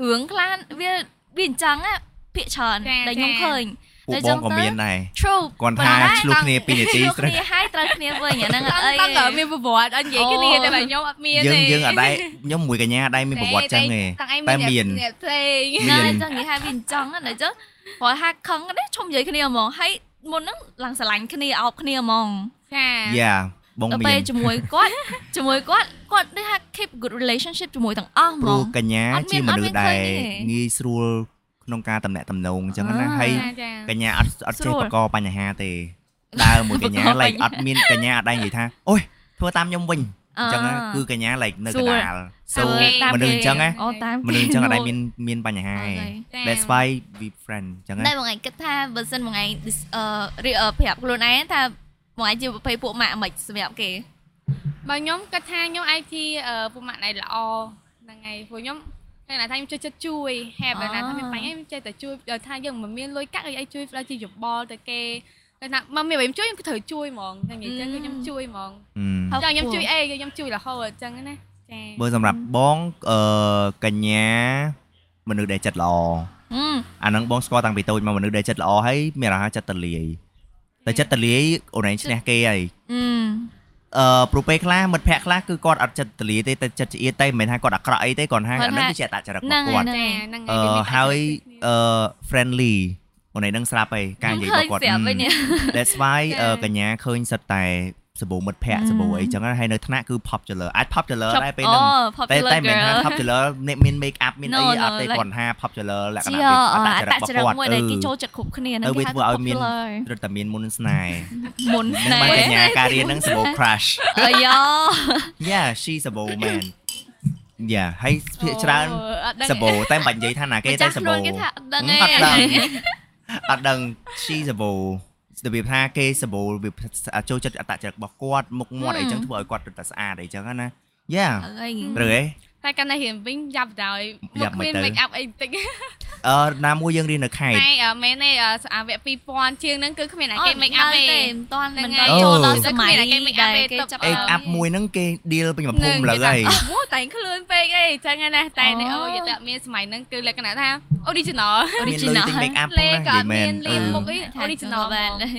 រឿងខ្លានវាវាអញ្ចឹងណាភាកច្រើន ចា ដែលខ្ញុំ ចា ឃើញ ពួក តែចឹ បង ងក៏ ទៅ មានដែរ true គាត់ថា ប៉ុន្តែ ឆ្លោះគ្នា2នាទី ឆ្លោះ ត្រូវ គ្នាហើយត្រូវគ្នាវិញអាហ្នឹង តាំ អី ងតាំងក៏មានប្រវត្តិអត់និយាយគ្នា អូ តែបើខ្ញុំអត់មាន យើង ទេ យើងអត់ដែរខ្ញុំមួយកញ្ញាអត់ដែរមានប្រវត្តិចឹងទេ តែ តែ មា មាន ន អ្នកផ្សេង មា ណា ន ចឹងនិយាយថាវាអញ្ចឹងណាចឹងព្រោះហាខឹងណាឈុំនិយាយគ្នាហ្មងហើយមុនហ្នឹងឡើងស្រឡាញ់គ្នាអោបគ្នាហ្មង ចា យ៉ាបង ដល់ មា ពេល ន ជាមួយគាត់ជាមួយគាត់គាត់ដូចថា keep good relationship ជាមួយទាំងអស់ហ្ម ព្រោះ ង កញ្ញា អត់មាន ជាមនុស្ស អត់មានឃើញ ដែល ទេ ងាយស្រួលក្នុងការតំណាក់តំណងចឹងណា អឺ ហើយ ចាចា កញ្ញាអត់អត់ ស្រួ ចេះ ល បង្កបញ្ហាទេ ដើរមួយក *laughs* ញ្ញា បង្ក ឡែក បញ្ហា អត់មានកញ្ញាអត់ដែរនិយាយថាអូយធ្វើតាមខ្ញុំវិញអញ្ចឹងណាគឺកញ្ញាឡែកនៅកណ្ដាល សួរ ចូលមនុស្សអញ្ចឹងណា អូតាម មនុស្ស *laughs* អញ្ចឹងអត់ដែរ ន មានមានបញ្ហាទេ ចា That's why we friend អញ្ចឹងណា តែបងឯងគិតថាបើសិនបងឯងអឺរៀបប្រាប់ខ្លួនឯងថាបងឯងជាប្រភេទពួកម៉ាក់មិនសម្រាប់គេ បើខ្ញុំគិតថាខ្ញុំអាចទីអឺពុកម៉ាក់ណៃល្អហ្នឹងហើយព្រោះខ្ញុំតែណាថាខ្ញុំចូលចិត្តជួយ help ដល់ណាថាមានបញ្ហាខ្ញុំចេះតែជួយដល់ថាយើងមិនមានលុយកាក់អីឲ្យជួយផ្ដល់ជាយោបល់ទៅគេតែណាមកមានអ្វីខ្ញុំជួយខ្ញុំក៏ត្រូវជួយហ្មងតែនិយាយចឹងគឺខ្ញុំជួយហ្មង Mm. ចង់ខ្ញុំជួយអីខ្ញុំជួយរហូតអញ្ចឹងណាចា៎ បើសម្រាប់បងអឺកញ្ញាមនុស្សដែលចិត្តល្អ ហឹម អាហ្នឹងបងស្គាល់តាំងពីតូចមកមនុស្សដែលចិត្តល្អហើយមានអារម្មណ៍ចិត្តតលាយតែចិត្តតលាយអូនឯងឈ្នះគេហើយ អឺ អឺព្រោះពេលខ្លះមិត្តភក្តិខ្លះគឺគាត់អត់ចិត្តទលាទេតែចិត្តឆ្អៀតតែមិនមែនថាគាត់អាក្រក់អីទេគាត់ថាអាហ្នឹងគឺជាអត្តចរិត ហ្នឹង របស់ ហើ គាត់យហ្នឹងហើយ ហ្នឹង អ ហើឺហើយយវាមានតែគ្នា អឺ friendly អូនឯងនឹងស្រាប់ហើយការនិយាយរបស់គាត់ មិនឃើញស្រាប់វិញនេះ *laughs* That's *laughs* why ចា អឺកញ្ញាឃើញសិតតែសបូមិត្តភក្តិ អឺ សបូអីចឹងណាហើយនៅថ្នាក់គឺ popular អាច popular ដែរពេលហ្នឹង អូ តែ popular តែមិនមែនថា girl popular អ្នកមាន make up មាន No, អីអត់ no, ទេ like- គាត់ថា popular លក្ខ ជា ណៈវា អ អត្ត ត្តច ចរិតរិត របស់ មួយ គាត់ ដែលគេ អឺ ចូលចិត្តគ្រប់គ្នា ទៅ នឹង វា គេហៅ ធ្វើឲ្យមាន popular ត្រូវតែមានមុនស្នេហ៍ មុន នឹង ណែ បានកញ្ញាការរៀនហ្នឹងសបូ crush *laughs* អាយ៉ Yeah she's a bow man Yeah ហើយភាគច្រើន អូអត់ដឹង សបោតែមិនបាច់និយាយថាណា *laughs* គេតែសបោ ម្ចាស់ខ្លួនគេថាអត់ដឹង អ ទេ ត់ដឹងអត់ដឹង she's a bow របៀបថាគេសបោរបៀបថាចូលចិត្តអត្តចរិតរបស់គាត់មុខមាត់អីចឹងធ្វើឲ្យគាត់ទៅស្អាតអីចឹងណា Yeah អី ត្រូវទេ តែកាន់តែរៀនវិញយ៉ាប់ដោយ យ៉ាប់មិនទៅ make up អីបន្តិច អឺណាមួយយើងរៀននៅខេត្ត តែអឺមែនទេអឺស្អាវគ្គ2000ជាងហ្នឹងគឺគ្មានណាគេ make up ទេ មិនតាន់មិន ហ្នឹតាងន់ ហើយ ចូលដល់សម័យ អូ ដែលគេចាប់ អេអាប់មួយហ្នឹងគេ deal ពេញបំភូមិលើហើយ អូតែងខ្លួនពេកអីអញ្ចឹងណាតែនេះអូយតែមានសម័យហ្នឹងគឺលក្ខណៈថា original មានលុយទិញ make up ផង លេ ណា ក៏ និយាយមែន មានលៀមមុខអី អូរីជីណល original បាន ហ្មង ហ្នឹ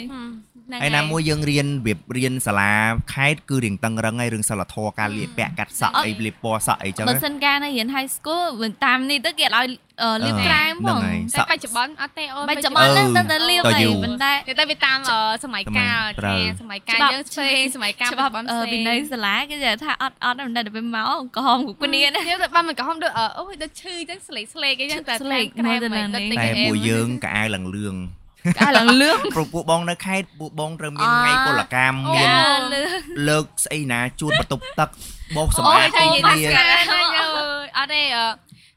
ង ឯណាមួយយើងរៀនវារៀនសាលាខេត្តគឺរៀងតឹងរឹងហើយរឿងសិលធម៌ការលាបពាក់កាត់សក់ អឺ អីលាបពណ៌សក់អីចឹង បើ ណា សិនកាលនៅរៀន high school វិញតាមនេះទៅគេឲ្យអឺអឺលាបក្រែម ហ្នឹ ផង ង ហើយ តែបច្ចុប្បន្នអត់ទេអូន បច្ចុប្បន្នហ្នឹង អឺ ទៅតែលាតើបហើយ យូរ ប៉ុន្តែ គេតែវាតាមអឺសម័យកាល ត្រូវ ចាសម័យកាល ច្បាប់ យើងផ្សេងសម័យកាល ច្បាប់អឺវិន័យសាលាគេនិយាយថាអត់អត់មិនដឹងទៅពេលមក *laughs* កំហំគ្រប់ គ្នា គ្នាណា នេះទៅបានមិនកំហំដូចអឺអូយដូចឈឺចឹងស្លេកស្លេកអីចឹងតែ ស្លេក តាមក្រែម មើលទៅណាហ្នឹង នេះ តែ តិចៗ ពួក ឯង យើងក្អាវឡើងលឿង *laughs* កាលឡើងលឿង ព្រោះពួកបងនៅខេត្តពួកបងត្រូវមាន អ่า ថ្ងៃពលកម្ម អូ មាន កាលលឿង លើកស្អីណាជួនបន្ទប់ទឹកបោសសអូម្អាត យ ទី និយា គ្នា យ ស្អាតណាស់យើយអត់ទេអឺ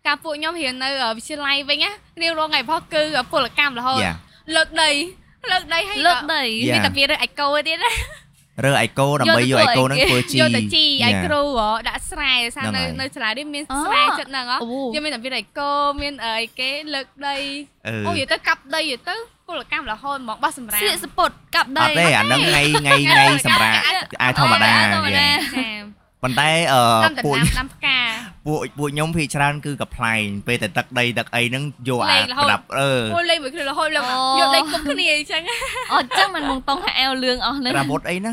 ការពួកខ្ញុំរៀននៅអឺវិទ្យាល័យវិញណារៀនរងថ្ងៃផោះគឺអឺពលកម្មរហូត Yeah. លើកដីលើកដីឲ្យ លើកដី Yeah. មានតែវារើសឯកោទៀតណា រើអីកោដើម្បីយយកក ទៅ អីកោហ្នឹងធ្វើជី យកតែជីឲ្យ Yeah. គ្រូហ៎ដាក់ស្រែសារនៅ ហ្នឹងហើយ នៅសាលារៀនមាន អូ ស្រែចិត្តហ្នឹងហ៎ អូ យើងមានតែវាដៃគោមានអីគេលើកដី អឺ អូនិយាយទៅកាប់ដីនិយាយទៅពលកម្មរហូតហ្មងបោះសម្រាម ស្លៀកសពតកាប់ អ ដី ត់ទេអាហ្នឹងថ្ងៃថ្ងៃថ្ងៃសម្រាប់អាធម្មតា អត់ធម្ម យេ តា ចា ប៉ុន្តែអឺ តាមតែ ពួក តាមដាំផ្កា ពួកពួកខ្ញុំភ័យច្រើនគឺកំ pl ែងពេលតែទឹកដីទឹកអីហ្នឹងយកអា លេងរហូ ប្រ ត ដាប់អឺ អូលេងមួយគ្រឿងរហូតឡើង អូ យកដីគុំគ្នាអញ្ចឹងអឺ អត់ចឹងមិនមកតង់ថាអែវលឿងអស់លើ ប្រដាប់វត់អីណា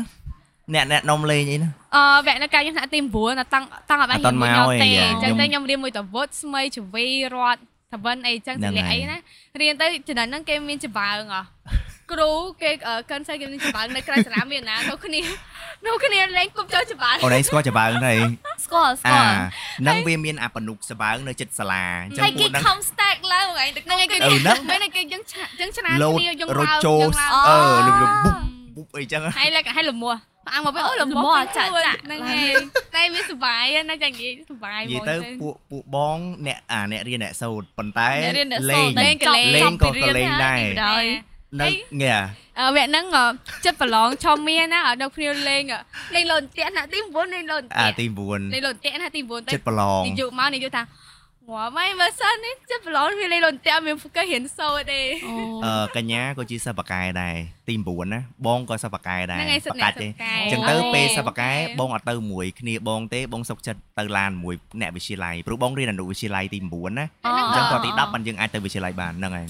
អ្នកអ្នកនំលេងអីណា វគ្គនៅកាលខ្ញុំថ្នាក់ទី9ដល់តាំងតាំងអត់បាន អត់ រៀនមួយ មក ខ្ញុំទេ ឯងអញ្ចឹងទៅខ្ញុំរៀនមួយតវុតស្មៃជវីរត់តវិនអីអញ្ចឹង ហ្នឹង សិលា ហើ អី យ ណារៀនទៅចំណុចហ្នឹងគេមានច្បើងអោះគ្រូគេអឺកិនសៃគេមានច្បើងនៅក្រៅសាលាមានណានៅគ្នានៅគ្នាលេងគុំចូលច្បើង អូនឯងស្គាល់ច្បើងទេ ស្គាល់អាស្គាល់ ហ្នឹងវាមានអាបនុកស្បើងនៅចិត្តសាលាអញ្ចឹង ហើយ ពួក គេ ហ្នឹង ខំ stack ឡើងហ្នឹងឯងទៅ ហ្នឹងឯងគេ អឺហ្នឹង មិនឯងគេយើងឆ្លាក់យើងឆ្លាត លោត គ្នាយើង រត់ ឡើង ចូល យើងអឺឡើងលំលំបុបបុបអីចឹង ហើយលក្ខហើយលំមួផ្អាំងមកពេលអូលំ លំមួ មួ ចា ចា ក់ ក់ ចា ចា ក់ ក់ហ្នឹងឯងតែវាសុបាយណាស់យ៉ាងនិយាយសុបាយ និ ហ្ម យាយ ង ទៅពួកពួកបងអ្នកអាអ្នករៀនអ្នកសូត្រប៉ុន្តែ អ្នករៀនអ្នក លេ សូ ងលេងត្រតែចប់ពី ក៏ រៀន លេងដែរ ហើយពីដោយហើយ នៅងា អឺវគ្គហ្នឹងអឺចិត្តប្រឡងឈមមានណាអត់ដល់ព្រាវលេងអឺលេងលោតទៀណាទី9លេងលោតទៀ អាទី លេងលោតទៀណាទី9 9 ទៅ ចិត្តប្រឡង និយាយមកនិយាយថាវ៉ាម៉ៃមើលសិននេះចិត្តប្រឡងវាលេងលោតទៀមានគេរៀនសូត្រទេ អឺកញ្ញាក៏ជាសិបកែដែរទី9ណាបងក៏សិបកែដែរ ហ្នឹងឯងសិប បកាច់ អ្នក ទេ សិបកែ អញ្ចឹងទៅ អូ ពេលសិបកែ អូ បងអត់ទៅមួយគ្នាបងទេបងសុកចិត្តទៅឡានមួយអ្នកវិទ្យាល័យព្រោះបងរៀនអនុវិទ្យាល័យទី9ណា អ អញ្ចឹងញ្ចឹង គាត់ ទី ទី10បានយើងអាចទៅវិទ្យាល័យបានហ្នឹងឯង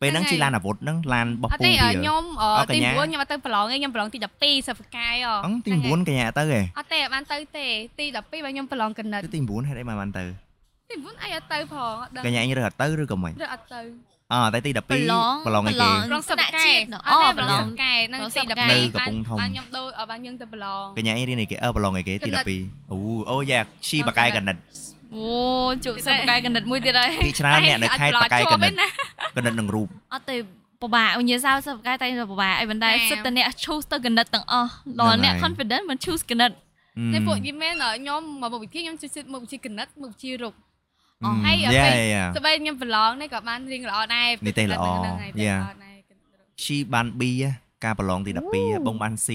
ពេលហ្នឹង ហ្នឹង ជា ហើយ ឡានអាវុធហ្នឹងឡានរបស់ អត់ ពូ ទេ វា អឺខ្ញុំអ អ่ะ ឺទី កញ្ញា 9ខ្ញុំអត់ទៅប្រឡងទេខ្ញុំប្រឡងទី12សិស្សកាយ អងទី9កញ្ញាទៅឯង អត់ទេអត់បានទៅទេទី12បើខ្ញុំប្រឡងកណិត គឺទី9ហេតុអីមកបានទៅ ទី9អីអត់ទៅផងអត់ដឹង កញ្ញាអញរើសអត់ទៅឬក៏មិន ឬអត់ទៅ អតែទី12 ប្រឡង ប្រឡងអីគេ ប្រឡងសិស្ស ដាក់ កាយ ជាតិអូអត់ទេ ប្រឡប្រឡ ង ងប្រឡកាយហ្នឹងងសិស្សកាយទី12បាន នៅកំពង់ធំ បានខ្ញុំដូរអត់បានយើងទៅប្រឡង កញ្ញាអញរៀនអីគេអឺប្រឡងអីគេទី កណិត 12អូអូយ៉ាឈីបកែកណិត អូជក់សិបកាយកណិតមួយទៀតហើយ ពី *laughs* ច្រើនអ្នកនៅខេត្តបកែកណិត អត់ប្រឡងជាប់ទេណា កណិតនឹងរូប អត់ទេពិបាកវិញ្ញាសាសិបកាយតែពិបាកអីបណ្ដា ចា៎ សិតតអ្នក choose ទៅកណិតទាំងអស់ដល់ ហ្នឹងហើយ អ្នក confident មិន choose កណិត តែពួកយីមែនអ่ะខ្ញុំមកមុខវិទ្យាខ្ញុំជួយសិតមុខវិជ្ជាកណិតមុខវិជ្ជារុក អស់ ហើ ហើយ យ អ่ะ យ៉ា ពេល យ៉ា ស្បែកខ្ញុំប្រឡងនេះក៏បានរៀងល្អដែរ នេះទេល្អ ហ្នឹងហើយទេ យ៉ា ល្អដែរ ឈីបាន B ហ៎ការប្រឡងទី12ហ៎បងបាន C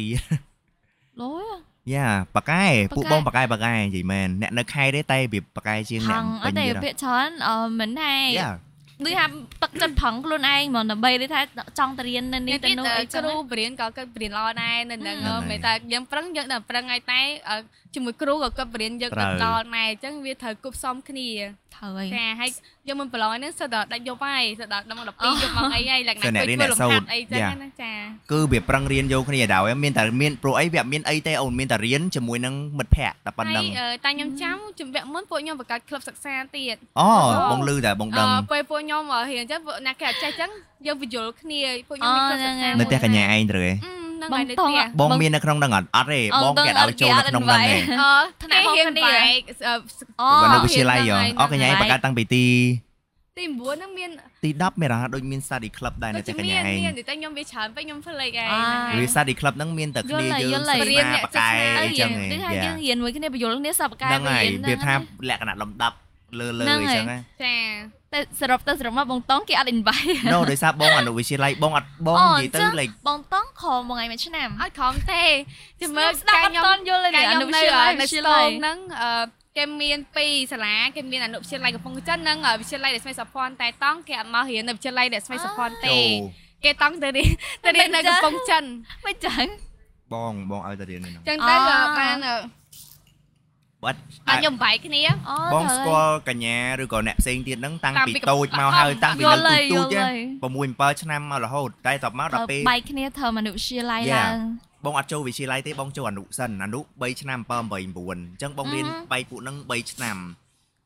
លយ យ៉ាប៉ាកែពួក ប៉ាកែ បងប៉ាកែប៉ាកែនិយាយមែនអ្នកនៅខេត្តទេតែវាប៉ាកែជាង ផ អ្នក ងអ ពេញ ត់ទេ ទៀតហ៎ ពាក្យច្រើនអឺមិនហើយ យ៉ា ដូចថាទឹកចិត្តប្រឹងខ្លួនឯងហ្មងដើម្បីដូចថាចង់ទៅរៀននៅនេះ នេះ ទៅ ទៅ នោះអីចឹងគ្រូបរៀនក៏គាត់បរៀនល្អដែរនៅហ្នឹងហ៎មែនតែយើងប្រឹងយើងតែប្រឹងហើយតែអ่ะជាមួយគ្រូក៏គាត់បរៀនយើងដល់ដល់ដែរអញ្ចឹងវាត្រូវគប់សមគ្នា ត្រូវហើយ ចាហើយយើងមិនប្រឡងហ្នឹងសិតដល់ដាច់យប់ហើយសិតដល់ដល់12យប់មកអីហើយលក្ខណៈអីចឹងណាចា គឺវាប្រឹងរៀនយកគ្នាឲ្យដែរមានតែមានព្រោះអីវាអត់មានអីទេអូនមានតែរៀនជាមួយនឹងមិត្តភ័ក្តិតែប៉ុណ្្នឹង តែខ្ញុំចាំជំវគ្គមុនពួកខ្ញុំបង្កើតក្លឹបសិក្សាទៀត អូបងលឺតែបង អឺ ដឹង ពេលពួកខ្ញុំរៀនចឹងពួកអ្នកគេអត់ចេះចឹងយើងបញ្យល់គ្នាពួកខ្ញុំមានក្លឹបនៅសិក្សាផ្ទះកញ្ញាឯងត្រូវទេ ហ្នឹងហើយនៅផ្ទះ បងមាននៅក្នុងហ្នឹងអត់អត់ទេ អ បង ងគេឲ្យចូលនៅក្នុងហ្នឹងឯង អឺថ្នាក់ហៀងបែក អូ បើ *laughs* នៅវិទ្យាល័យហ៎អូកញ្ញាឯងបង្កើតតាំងពីទី ទី9ហ្នឹងមាន ទី10មានរហ័សដូចមាន study club ដែរនៅ ដូច ផ្ទះក មា ញ្ញាឯងនមានតែខ្ញុំវាច្រើនពេកខ្ញុំផ្លេចឯង វាសាឌីក្លឹបហ្នឹងមានតែគ្នា យល់ហើយើងយយល់ហើយ ស្មាបកែអញ្ចឹង ដូចថា ហ៎ យើងរៀនមួយគ្នាបញ្យល់គ្នាសពកាយ ហ្នឹងហើយ រៀន វា ង ថាលក្ខណៈលំដាប់លើលើ ហ្នឹង អី ហើយ ចឹងណា ចា តែសរុបទៅសរុបមកបងតងគេអត់ invite នោះដោយសារបងអនុវិទ្យាល័យ *laughs* បងអត់ *laughs* បង អូ និយាយទៅ អញ្ចឹង លេខ បងតងខមមួយថ្ងៃមួយឆ្នាំ អត់ខំទេជិះមើល ស្ដាប់ កា អត់យខ្ញុំ តន់យល់ទេ កា នេះអលនុខ្ញុំនៅ វិទ្យាល័យវិទ្យាល័យនៅស្ទងហ្នឹងអឺគេមានពីរសាលាគេមានអនុវិទ្យាល័យកំពង់ចិននិងវិទ្យាល័យដែលស្មីសុភ័ណ្ឌតែតង់គេអត់មករៀននៅវិទ្យាល័យដែលស្មីសុភ័ណ្ឌទេ ចូល គេតង់ទៅរៀនទៅរៀននៅ មិនចឹ កំ ង ពង់ចិន មិនចឹង បងបងឲ្យទៅរៀននៅហ្នឹង អញ្ចឹងទៅ អ่า បានអឺ បាទ បាទខ្ញុំបែកគ្នា អូ បងស្ទៅហើយ គាល់កញ្ញាឬក៏អ្នកផ្សេងទៀតហ្នឹងតាំង តាំង ពី ពី តូច កំ មកហើយ កំ តាំងពី យ នៅ ល់ហើយយ ទូច ល់ ទេ ហើយ 6 7ឆ្នាំមករហូតតែតបមកដល់ពេល បែកគ្នាធ្វើមនុស្សជាឡាយ Yeah. ឡើង បងអត់ចូលវិទ្យាល័យទេបងចូលអនុសិនអនុ3ឆ្នាំ7 8 9អញ្ចឹងបង អឺ រៀនបែកពួកហ្នឹង3ឆ្នាំ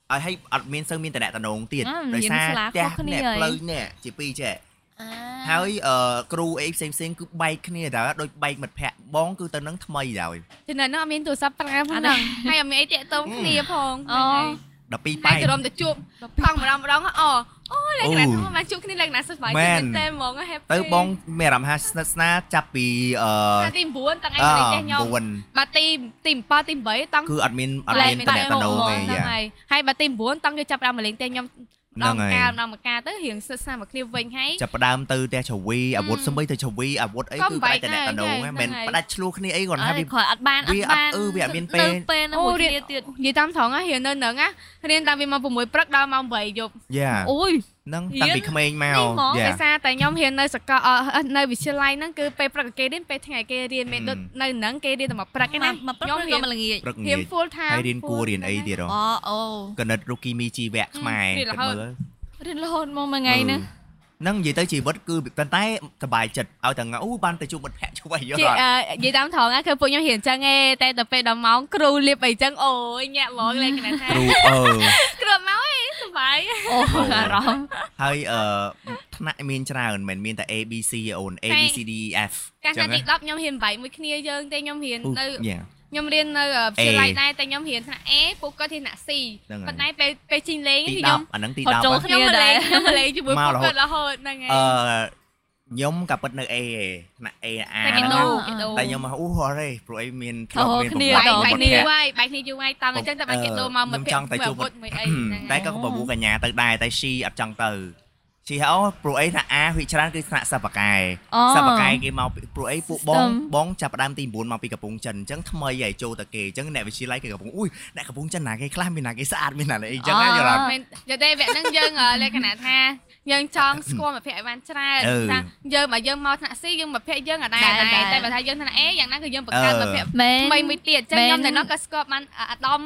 ហើយហើយអត់មានសឹងមានតំណែងទៀត អឺ ដោយ រៀន សារ សាលា ផ្ទះ ខុសគ្នា អ្នក ហើយ ផ្លូវអ្នកជាពីរចេះ អា ហើយអឺគ្រូអីផ្សេងផ្សេងៗគឺបែកគ្នាតើដូចបែកមិត្តភ័ក្តិបងគឺទៅនឹងថ្មីហើយ ចំនួនហ្នឹងអត់មានទូរស័ព្ទប្រើផងហ្នឹងហើយអត់មានអីតាក់ទងគ្នាផង អូ 12 ហើ បែ យក ទៅរំទៅជួបផងម្ដងម្ដងៗអូអូលក្ខណៈធម្មតាជួបគ្នាលក្ខណៈសុខសប្បាយ មែ គ្នា ន តែហ្មង happy ទៅបងមានអារម្មណ៍ថាស្និទ្ធស្នាលចាប់ពីអ ថ្ងៃទី9តាំង ឺ ឯងចេះខ្ញុំ 9 បាទទីទី7ទី8តាំង គឺអត់មានអត់មានតំលែងបា ណែ ក់ ងតំណងទេ ហ្នឹ យ៉ា ងហើយហើយបើទី9តង់គេចាប់ផ្ដើមមកលេងតែខ្ញុំ ហ្នឹ ដ ង ង ហើយ កាលដងមកកាលទៅរៀងសិតស្នាមកគ្នាវិញហើយ ចាប់ផ្ដើមទៅផ្ទះជ្រវីអាវុធ អឺ សំបីទៅជ្រវីអាវុធអី ក៏ គឺ បែ បែក ក តំណែងតំណង ដែរ ហ្នឹងមិន ហ្នឹងហើយ ផ្ដាច់ឆ្លោះគ្នាអីគាត់ អើ ថា យ វា គ្រាន់អត់បានអ វា ត់ អត់ បាន អឺវាអត់មានពេល ទៅពេលហ្នឹង អូ មួយ រៀ គ្នា ន ទៀត និយាយតាមត្រង់ហ៎រៀននៅនឹងហ៎រៀនតាំងពីម៉ោង6ព្រឹកដល់ម៉ោង8យប់ យ៉ា អូយ ហ្នឹង រៀន តាំងពីក្មេងមក នេះហ្មង យ៉ា ដោយសារតែខ្ញុំរៀននៅសកលអអនៅវិទ្យាល័យហ្នឹងគឺពេលព្រឹកគេរៀនពេលថ្ងៃគេរៀនមិន អឺ ដូចនៅហ្នឹងគេរៀនតែមកព្រឹកឯណា មកប្រឹក ខ្ញុំ ឬក៏មករៀនល្ងាច ព្រឹក រៀ ងា ន យ full time ហើយរៀនគួររៀនអីទៀតហ៎ អូអូ កណិតរុគីមីជីវៈខ្មែរ រៀនរហូត រៀនរហូតមកមួយថ្ងៃហ្នឹង ហ្នឹងនិយាយទៅជីវិតគឺប៉ុន្តែសប្បាយចិត្តឲ្យតែងអូបានទៅជួបមិត្តភ័ក្តិជួយយល់ ជា អត់ អឺនិយាយតាមត្រង់ហ៎គឺពួកខ្ញុំរៀនចឹងឯងតែដល់ពេលដល់ម៉ោងគ្រូលាបអីចឹងអូយញាក់ហ្មងលេងគណ *laughs* ថា គ្រូអឺ គ្រូមកឯងសុបាយ អូ អូ អារម្មណ៍ ហើយអឺថ្នាក់មានច្រើនមិនមែនមានតែ A B C អូន A B C D E F កាលណាទី10ខ្ញុំរៀនបែកមួយគ្នាយើងទេខ្ញុំរៀន អូ នៅ យ៉ា ខ្ញុំរៀននៅអឺវិទ្យាល័យ A ដែរតែខ្ញុំរៀនថ្នាក់ A ពួកគាត់រៀនថ្នាក់ C ហ្នឹងហើយ ប៉ុន្តែពេលពេលជិញលេង ទី គឺ 10 ខ្ញុំ អាហ្នឹងទី ហ 10 ត់ចូល ហ៎ គ្នា ខ្ញុំមក ដែ លេ រ ងខ្ញុំមកលេងជាមួយ មករហូតពួកគាត់រហូតហ្នឹងឯង អឺខ្ញុំក៏ពិតនៅ A ឯងថ្នាក់ A អា តែ ហ្នឹ គេ ង ដូរ អា គេដូរ តែខ្ញុំមកអូអត់ទេព្រោះអីមានធ្ អូ មាន គ្នា ប្រវ បែក ត្តិ បែកនេះ មិត្តភ័ក្តិ ហើយបែកនេះយូរហើយតោះអញ្ចឹងតែបែកគេដូរមក អឺ មិត្តភ័ក្តិ ខ្ញុំចង់តែជួប មួយអាវុធមួយអីហ្នឹង តែ ឯង ក៏បបួលកញ្ញាទៅដែរតែ she អត់ចង់ទៅ she ហៅព្រោះអីថ្នាក់ A វិច្រើនគឺថ្នាក់សពកាយ អូ សពកាយគេមកពីព្រោះអីពួកបង System បងចាប់ផ្ដើមទី9មកពីកំពង់ចិនអញ្ចឹងថ្មីហើយចូលតែគេអញ្ចឹងអ្នកវិទ្យាល័យគេកំពុងអ៊ុយអ្នកកំពង់ចិនណាគេខ្លះមានណាគេស្អាតមានណាអីអញ្ចឹងណាយល់អត់ មែនយកទេវគ្គហ្នឹងយើងអឺលក្ខណៈថាយើងចង់ស្គាល់មិត្តភ័ក្តិឲ្យបានច្រើន អឺ ថាយើងមកយើងមកថ្នាក់ C យើងមិត្តភ័ក្តិយើងអត់ដែរ ដែរ ដែរ ដែរ តែបើថាយើងថ្នាក់ A យ៉ាងណាគឺយើងបង្កើតមិត្តភ័ក្តិ មែន ថ្មីមួយទៀតអញ្ចឹងខ្ញុំ មែន តែនោះក៏ស្គាល់បានអាដាម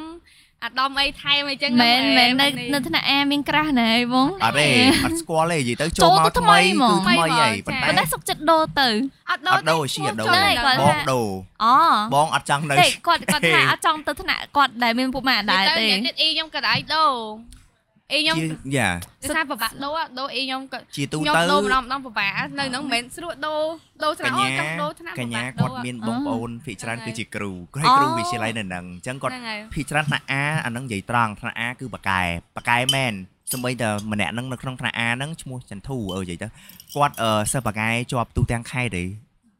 អាដាមអីថែមអីចឹង មែនមែននៅ នេះ នៅថ្នាក់ A មានក្រាស់ណែហ្មង អត់ទេអត់ស្គាល់ទេនិយាយទៅ ចូល ចូលមក ទៅ ថ្មី ថ្មីគឺហ្មង ថ្មី ថ្មីហើយហ្មងចា៎ ប៉ុន្ ប៉តែុន្តែសុកចិត្តដូរទៅ អត់ដូរ អត់ដូរជាអត់ដូរ ចូល ប ដល់ គាត់ ង ថា ដូរ អូ បងអត់ចង់នៅ តែគាត់គាត់ថាអត់ចង់ទៅថ្នាក់គាត់ដែលមានពុកម៉ែអត់ដែរ ទៅ ទេ ទៀតអ៊ីខ្ញុំក៏ដៃដូរអ៊ីខ្ញុំ ជាយ៉ា ស្ថាបបាក់ដូរអ่ะដូរអ៊ីខ្ញុំក៏ ជាទូ ខ្ញុំ ទៅ ដូរម្ដងម្ដងពិបាកនៅហ្នឹងមិនមែនស្រួលដូរដូរស្រួ ក ល ញ្ញា អូចង់ដូរថ្នាក់ ក ពិបា ញ្ញា កដូរ គាត់មានបងប្អូនភាគច្រើន ហ្នឹងហើយ គឺជាគ្រូគាត់គ្រូ អូ វិទ្យាល័យនៅហ្នឹងអញ្ចឹងគាត់ ហ្នឹងហើយ ភាគច្រើនថ្នាក់ A អាហ្នឹងនិយាយត្រង់ថ្នាក់ A គឺបកែបកែមែនសម្បីតែម្នាក់ហ្នឹងនៅក្នុងថ្នាក់ A ហ្នឹងឈ្មោះចន្ទធូអឺនិយាយទៅគាត់អឺសិស្សបកែជាប់ទូទាំងខេត្តទេ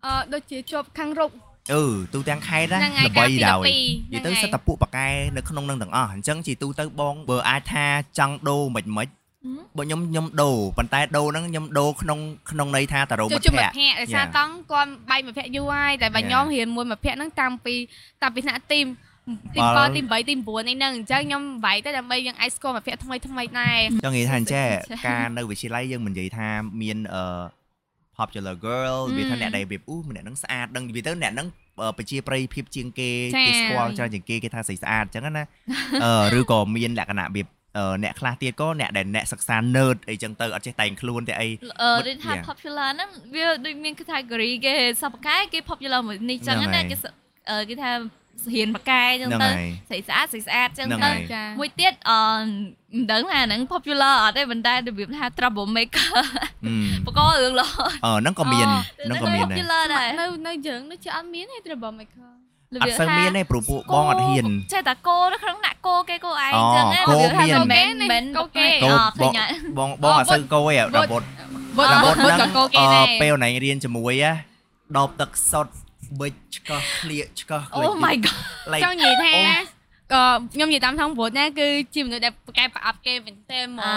អឺដូចជាជាប់ខាងរុក អឺទូទាំងខេត្តណា ហ្នឹងហើយកាល្បី លពី ដោយនិ12យាយទៅហ្នឹងហើ សិ យ តតែពួកប៉ាកែនៅក្នុងនឹងទាំងអស់អញ្ចឹងជីទូទៅបងបើអាចថាចង់ដូរមិនមិនបើខ្ញុំខ្ញុំដូរប៉ុន្តែដូរហ្នឹងខ្ញុំដូរក្នុងក្នុងន័យថាតារោមិ ជួ ត្ត បជុំមិ ភ័ ត្ត ក្តិ ភ័ក្តិដោយសារ Yeah. តង់គាត់បែកមិត្តភ័ក្តិយូរហើយតែបើ Yeah. ខ្ញុំរៀនមួយមិត្តភ័ក្តិហ្នឹងតាំងពីតាំងពីថ្នាក់ទីទី បាល់ 7ទី8ទី9អីហ្នឹងអញ្ចឹងខ្ញុំបែកទៅដើម្បីយើងអាចស្គាល់មិត្តភ័ក្តិថ្មីថ្មីដែរ ចង់និយាយថាអញ្ចេះការនៅវិទ្យាល័យយើងមិននិយាយថាមានអឺ popular girl ម វាថាអ្នកដែលរៀបអូម្នាក់ហ្នឹងស្អាតដឹងនិយាយទៅអ្នកហ្នឹងអឺប្រជាប្រិយភាពជាងគេ ចា៎ គេស្គាល់ច្រើនជាងគេគេថាស្អីស្អាតអញ្ចឹងណា អឺឬក៏មានលក្ខណៈរបៀបអឺអ្នកខ្លះទៀតក៏អ្នកដែលអ្នកសិក្សា nerd អីចឹងទៅអត់ចេះតែងខ្លួនតែអី អឺដូចថា Yeah. popular ហ្នឹងវាដូចមាន category គេសពកាយគេ popular មួយនេះចឹង ហ្នឹងហើ ណា យ គេសអឺគេថាហ៊ានបកាយចឹង ហ្នឹង ទៅ ហើយ ស្អីស្អាតស្អីស្អាតចឹង ហ្នឹង ទៅ ហើយ ចា៎ *laughs* មួយទៀតអឺមិនដឹងថាហ្នឹង popular អត់ទេប៉ុន្តែរបៀបថា trouble maker អឺ បកករឿងលោ អឺហ្នឹងក៏មាន ហ ហ្នឹងក៏មានដែរ popular ដែរ នៅនៅយើងដូចជាអត់មានទេ Trouble Maker អត់សូវមានទេព្រោះពួកបងអត់ហ៊ាន *laughs* ចេះតែគោនៅក្នុងដាក់គោគេគោឯង អូ ចឹងណា គោ របៀបថា មាន មិនមែនមិន គោគេ អ កូ ឃើ បង ញហើយ បងបងអត់សូវកូឯងរ វុត បត់ បុ រ ត ប បុ ត់ តបុត ហ្នឹ ក៏ ង កោគេ អឺ ដែរ ពេលណៃរៀនជាមួយណាដបទឹកសុទ្ធបិចឆ្កោះឃ្លៀកឆ្កោះ Oh my god លេច ចង់និយាយថា អូ ក៏ខ្ញុំនិយាយតាមថងព្រោះណាគឺជាមនុស្សដែលប្រកែប្រអាប់គេមែនទេហ្មង អា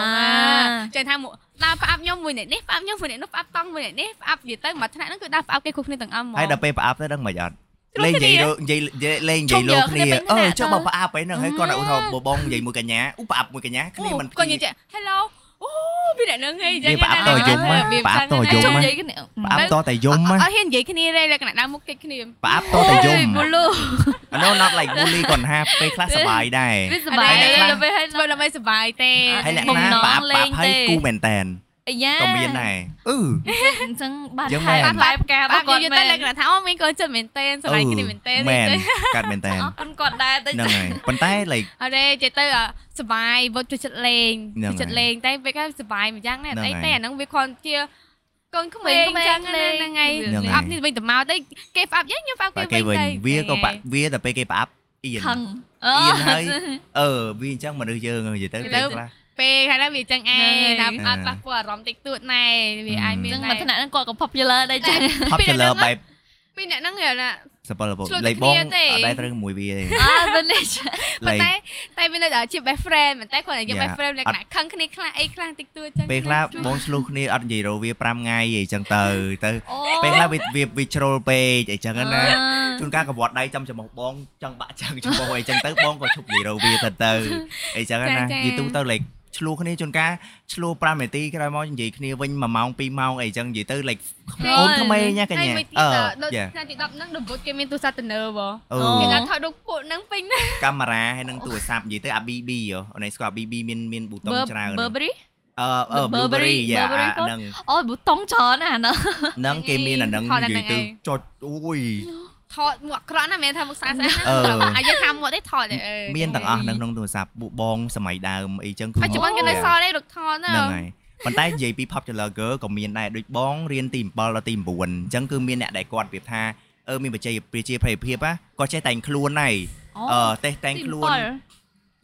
ចឹងថាមកដល់ប្រអាប់ខ្ញុំមួយអ្នកនេះប្រអាប់ខ្ញុំមួយអ្នកនោះប្រអាប់តង់មួយអ្នកនេះប្រអាប់និយាយទៅមកថ្នាក់ហ្នឹងគឺដល់ប្រអាប់គេគ្រប់គ្នាទាំងអស់ហ្មង ហើយដល់ពេលប្រអាប់ទៅដឹងមិនអត់ ជ្រុល លេងនិ គ្នា យាយដូចនិយាយនិយាយលេងនិយាយ ជុំ លោ យក គ្នា គ្នា អឺ ពេញថ្នាក់ ចុះ ទៅ មកប្រអាប់ឯហ្នឹងហើយគាត់ឧទាហរអឺណ៍បងនិយាយមួយកញ្ញាឧបប្រអាប់មួយកញ្ញាគ្នាមិន គាត់និយាយចេះ Hello អូ ពីអ្នកនឹងហីអញ្ចឹង វាផ្អាប់តយំហ៎ វា ផ្អាប់តយំ ជុំ ហ៎ និយាយគ្នា ផ្អាប់តតែយំហ៎ អត់ហ៊ាននិយាយគ្នាទេលក្ខណៈដើមមុខគេចគ្នា ផ្អាប់តតែយំ មកលូ No not like bully គាត់ហាពេលខ្លះសប្បាយដែរ វាសប្បាយ ឥឡូវ ទេទៅឲ្យ ធ្វើដើម្បីសុបាយទេ ហើយលក្ខ បំ ណៈ ណង ផ្អាប់ លេ ផ្អា ង ប់ហើយ ទេ គូមែនតែន អាយ៉ា ក៏មានដែរអឺ អញ្ចឹងបាន យ៉ាង ខែ ម៉េច បានផ្លែផ្កា បា បា ក់ ត់ និ គាត់ យាយ មែ ទៅ ន លក្ខណៈថាអូមានកូនចិត្តមែនតេស្រឡាញ់គ្នាមែនតេ មែនកាត់មែន *laughs* តែន អរគុណគាត់ដែរតិច ហ្នឹងហើយប៉ុន្តែ like អរេនិយាយទៅអ่ะសុបាយវត់ជួយចិត្តលេង ហ្នឹង ជួយចិត្ត ហើយ លេងតែពេលគេសុបាយម្យ៉ាងណាស់ ហ្នឹង អី ហើយ តែអាហ្នឹងវាគ្រាន់ជាកូនក្មេងអញ្ចឹងណាហ្នឹងហើយ ហ្នឹងហើយ អាប់នេះវិញទៅមកទៅគេផ្អាប់យើងខ្ញុំផ្អាប់ បើ គេ គេ វិញ វិញ ទៅ វាក៏បាក់វាតែពេលគេផ្អាប់អៀន ខឹងអ អៀ ឺ នហើយអឺវាអញ្ចឹងមនុស្សយើងនិយាយទៅពេលខ្លះ ពេលហើយដល់វាអញ្ចឹងឯ ហ្នឹងហើយ ងណាអត់ប៉ះពាល់អារម្មណ៍តិចតួចណែវាអាច អឺ មាន ចឹង ដែ មកថ្នាក់ហ្នឹងគាត់ក៏ផប់យលើដែរចឹង popular បែប រពីអ្នកហ្នឹងគេណា សិពលរបស់ ឆ្លួត like គ្នា បង ទេ អត់ដែរត្រូវមួយវាទេ អើ *laughs* ទៅនេះចា ប៉ុ like ន្តែតែវានៅតែជា best friend ប៉ុន្តែគ្រាន់តែជា Yeah. best friend លក្ខណៈខឹងគ្នាខ្លះអីខ្លះតិចតួចអញ្ចឹង ពេលខ្លះបងឆ្លុះគ្នាអត់និយាយរវា5ថ្ងៃអីចឹងទៅទៅពេលខ្លះវាវាវាជ្រុលពេកអីចឹងណា *laughs* ជួនកាលកង្វត់ដៃចំចំោះបងចង់បាក់ចាំងចំោះអីចឹងទៅបងក៏ឈប់និយាយរវាទៅ *laughs* ទៅអីចឹងណានិយាយទូទៅ like ឆ្លោះគ្នាជួនកាលឆ្លោះ5នាទីក្រោយមកនិយាយគ្នាវិញ1ម៉ោង2ម៉ោងអីចឹងនិយាយទៅ like ហើ អូ យ នក្មេងណាក ហើ ញ្ញា យមួយទៀត អ ដល់ ឺ yeah ឆ្នាំទី10ហ្នឹងរបត់គេមានទូរស័ព្ទទៅនើប អូ អូ គេដាក់ថតរូបពួកហ្នឹងពេញណា កាមេរ៉ាហើយនឹងទូរស័ព្ទនិយាយទៅអា BB ហ៎អូនឯងស្គាល់ BB មានមានប៊ូតុងច្រើនណាស់ Burberry អឺអឺ Burberry Burberry យ៉ាអា Burberry ផង ហ្នឹង អូយប៊ូតុងច្រើនណាស់ហ្នឹង ហ្នឹងគេមានអាហ្នឹងនិយាយទៅចុចអូយ ថតមួកអាក្រក់ណាមិនមែនថាមុខស្អាតស្អាត អឺ ណាអាយើងថាមួកទេថតទេអឺ មានទាំងអស់នៅក្នុងទូរស័ព្ទបុបងសម័យដើមអីចឹងគឺ បច្ចុប្បន្នគេនៅសល់ទេរូបថតណា ហ្នឹងហើយប៉ុន្តែនិយាយពី popular girl ក៏មានដែរដូចបងរៀនទី7ដល់ទី9អញ្ចឹងគឺមានអ្នកដែលគាត់ប្រៀបថាអឺមានបច្ចេកប្រជាប្រិយភាពណាគាត់ចេះតែងខ្លួនដែរអឺចេះតែងខ្លួន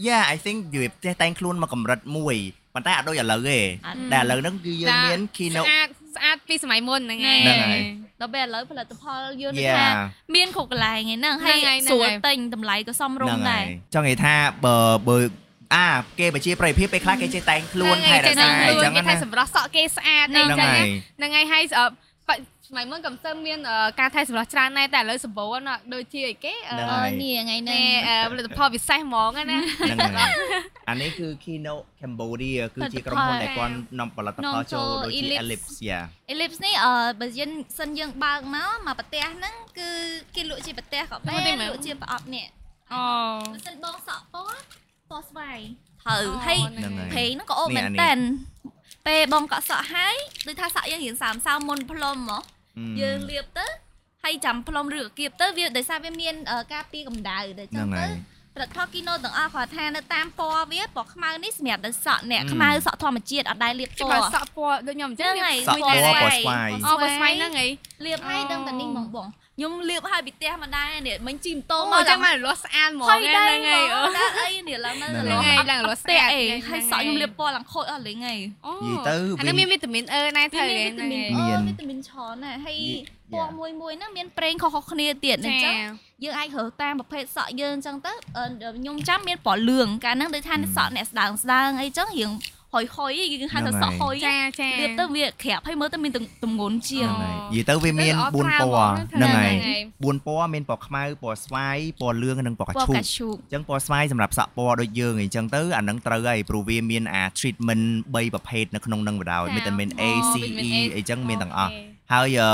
Yeah I think និយាយចេះតែងខ្លួនមកកម្រិតមួយប៉ុន្តែអត់ដូចឥឡូវទេ អត់ តែឥឡូវហ្នឹងគឺយើងមាន ស្ keynote អាតស្អាតពីសម័យមុនហ្នឹងឯង ហ្នឹងហើយ ដល់ពេលឥឡូវផលិតផលយល់ថា Yeah មានគ្រប់កន្លែងហ្នឹងហើយ ហ្នឹងហើយហ្នឹងហើយ ស្រួលទិញតម្លៃក៏សមរម្យដែរ ចង់និយាយថាបើបើអាគេប្រជាប្រិយភាពពេលខ្លះគេចេះតែងខ្លួន ហើ ថែ យ រក្សា ចេះតែ អី ងខ្លួន ចឹង គេ ណា ថាសម្រស់សក់គេស្អាតណាអ ហ្នឹង ញ្ចឹង ហើ ណា យ ហ្នឹងហើយហើយអឺបច្ចសម័យមុនក៏មិនសូវមានអឺការថែសម្រាប់ច្រើនដែរតែឥឡូវសម្បូរណាស់ដូចជាអីគេអឺ ហ្នឹង អើយនេះថ្ងៃហ្នេះ នេះអឺផលិតផលពិសេសហ្មងហ្នឹងណា ហ្នឹង *laughs* ហើយអានេះគឺ Kino Cambodia គឺជាក្រុមហ៊ុនដែលគាត់នាំផលិតផលចូលដូចជា Ellipse យ៉ា អេលីបសនេះអឺបើយើងសិនយើងបើកមកមកប្រទេសហ្នឹងគឺគេលក់ជាប្រទេសក៏បាន ហ្នឹងទេមែន លក់ជាប្រអប់នេះ អូ បើសិនបងសក់ពណ៌ពណ៌ស្វាយត្រូវ អូ ហើយ ហ្នឹងហើយ ភេងហ្នឹងក៏អូប នេះ មែន អានេះ តែនពេលបងកក់សក់ហើយដូចថាសក់យើងរៀងសើមសើមមុនផ្លុំហ្មងយើងលាបទៅហើយចាំផ្លុំឬអាគៀបទៅវាដោយសារវាមានអឺការពារកម្ដៅដូចចឹ ហ្នឹង ងហើ ទៅ យ ផលិតផលគីណូទាំងអស់គាត់ថានៅតាមពណ៌វាពណ៌ខ្មៅនេះសម្រាប់ដល់សក់អ្នក អឺ ខ្មៅសក់ធម្មជាតិអត់ដែរលាបព គេ ណ៌ បើសក់ពណ៌ដូចខ្ញុំអញ្ចឹង ហ្នឹងហើយ សក់ពណ៌ពណ៌ស្វាយ អូបើស្វ័យហ្នឹងហី លាបហើយ អូ ដឹងតែនេះហ្មងបងខ្ញុំលាបហើយពីផ្ទះមកដែរនេះមិញជីម៉ូតូ អូ មក អញ្ចឹងមករលាស់ស្អាតហ្មង ហុយដែរ ហ្នឹង ហ្មងហីអូ ដល់អីនេះឡើងនៅ ហ្នឹង ឡើង ហ្នឹងហីឡើងរលាស់ស្អាត អីហើយសក់ខ្ញុំលាបពណ៌ឡើងខូចអស់លេងហី អូ និយាយទៅ អាហ្នឹង វា មានវីតាមីនអឺណែ វា ទៅ មានវីតា ហ្នឹង មីនហីអឺវីតាមីនច្រើនណាស់ហើយពណ៌មួយមួយហ្នឹងមានប្រេងខុសៗគ្នាទៀតអ ចា ញ្ចឹងយើងអាចរើសតាមប្រភេទសក់យើងអញ្ចឹងទៅអឺខ្ញុំចាំមានពណ៌លឿងកាលហ្នឹងដូចថាសក់អ្នកស្ដើងស្ដើងអីចឹងរៀងហុយហុយៗយើងហៅថាសក់ហុយ ចាចា វាទៅវាក្រាបហើយមើលទៅមានទម្ងន់ជាង ហ្នឹងហើយនិយាយទៅវាមាន4ពណ៌ហ្នឹងហើយ4ពណ៌មានពណ៌ខ្មៅពណ៌ស្វាយពណ៌លឿងនិងពណ៌ ព កា ណ៌ ឈូក កាឈូក អញ្ចឹងពណ៌ស្វាយសម្រាប់សក់ពណ៌ដូចយើងអីចឹងទៅអាហ្នឹងត្រូវហើយព្រោះវាមានអា treatment 3ប្រភេទនៅក្នុងហ្នឹងបណ្ដោយមានតែមាន A C E អីចឹងមានទាំងអស់ហើយអឺ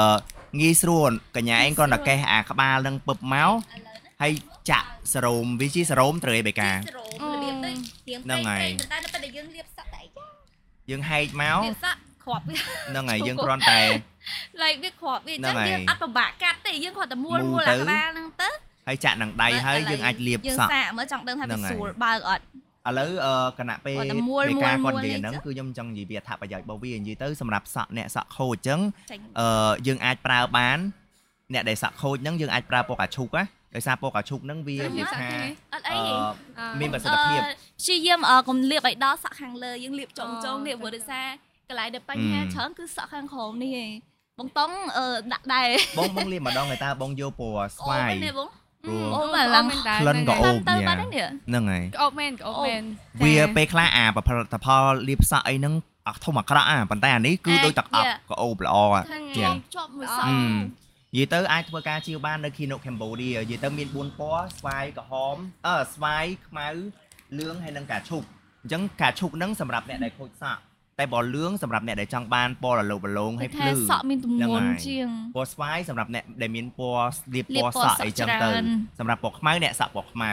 ងាយស្រួលកញ្ញាឯងគាត់តែកេះអាក្បាលហ្នឹងពឹបមកហើយចាក់សរោមវាជាសរោមត្រូវឯបេកា ស្រោមលាបទៅរៀង ហ្នឹងហើយ តែដល់ពេលដែលយើងលាបសក់តែអីចា យើងហែក *laughs* មក លាបសក់គ្រាប់វា ហ្នឹងហើយយើងគ្រាន់តែ ឡែកវាគ្រាប់វាអញ្ចឹង ហ្នឹងហើយ យើងអត់ពិបាកកាត់ទេយើងគ្រាន់តែមួល មួ មួ ល ល ទៅ អាក្បាលហ្នឹងទៅ ហើយចាក់នឹងដៃហើយយើងអាចលាប យើង ស *laughs* ក់ សាកមើលចង់ដឹងថា ហ្នឹ វា ងហើយ ស្រួលបើកអត់ ឥឡូវអឺគណៈពេល គាត់តែមួល មេការ មួគាលត់ មួ និ ល យាយ អី ហ្នឹង ចឹគឺខ្ញុំចងង់និយាយពីអត្ថប្រយោជន៍របស់វានិយាយទៅសម្រាប់សក់អ្នកសក់ខូចអញ្ចឹង ចាញ់ អឺយើងអាចប្រើបានអ្នកដែលសាក់ខូចហ្នឹងយើងអាចប្រើពណ៌កាឈូកណាដោយសារពណ៌កាឈូកហ្នឹង *laughs* វា ខ្ញុំ និ លា យា ប យ សក់ ថាអគេត់អី អឺមានប្រសិទ្ធ អ ភាព ឺព្យាយាមអឺកុំលាបឲ្យដល់សក់ខាងលើយើងលាបចុងចុងៗនេះព្រោះដោយសារក *laughs* ន្លែងដែលបញ្ហា អឺ ច្រើនគឺសក់ខាងក្រោមនេះឯងបងតង់អឺដាក់ដែរ បង *laughs* បងលាបម្ដងឲ្យតើបងយកពណ៌ស្វាយ នេះបង ព្រោះ អូ អូ បា មល់កឡា ឡើង ង ក្លិនក៏អូ បានទៅបាត់ហើយនេះ ហ្នឹងហើយ អូបមែនក៏អូបមែន វាពេលខ្លះអាផលិតផលលាបសក់អីហ្នឹងអត់ធំអាក្រក់អាប៉ុន្តែអានេះគឺ អាច ដូចទឹកអប់ យ៉ា ក៏អូបល្អអា ខាង ចា ជាប់ជាប់មួយសអឺអឺក់ មនិយាយទៅអាចធ្វើការជាវបាននៅ Kino Cambodia និយាយទៅមាន4ពណ៌ស្វាយក្រហមអឺស្វាយខ្មៅលឿងហើយនិងកាឈូកអញ្ចឹងកាឈូកហ្នឹងសម្រាប់អ្នកដែលខូចសក់ តែពណ៌លឿងសម្រាប់អ្នកដែលចង់បានពណ៌រលោងរលោងហើយ ថា ភ្លឺ សក់មានទម្ងន់ ហ្នឹងហើយ ជាង ពណ៌ស្វាយសម្រាប់អ្នកដែលមានពណ៌ស្លៀប លា ព ប ណ៌សក់ ពណ៌សក់ អីចឹង ច្រើ ទៅ ន សម្រាប់ពណ៌ខ្មៅអ្នកសាក់ពណ៌ខ្មៅ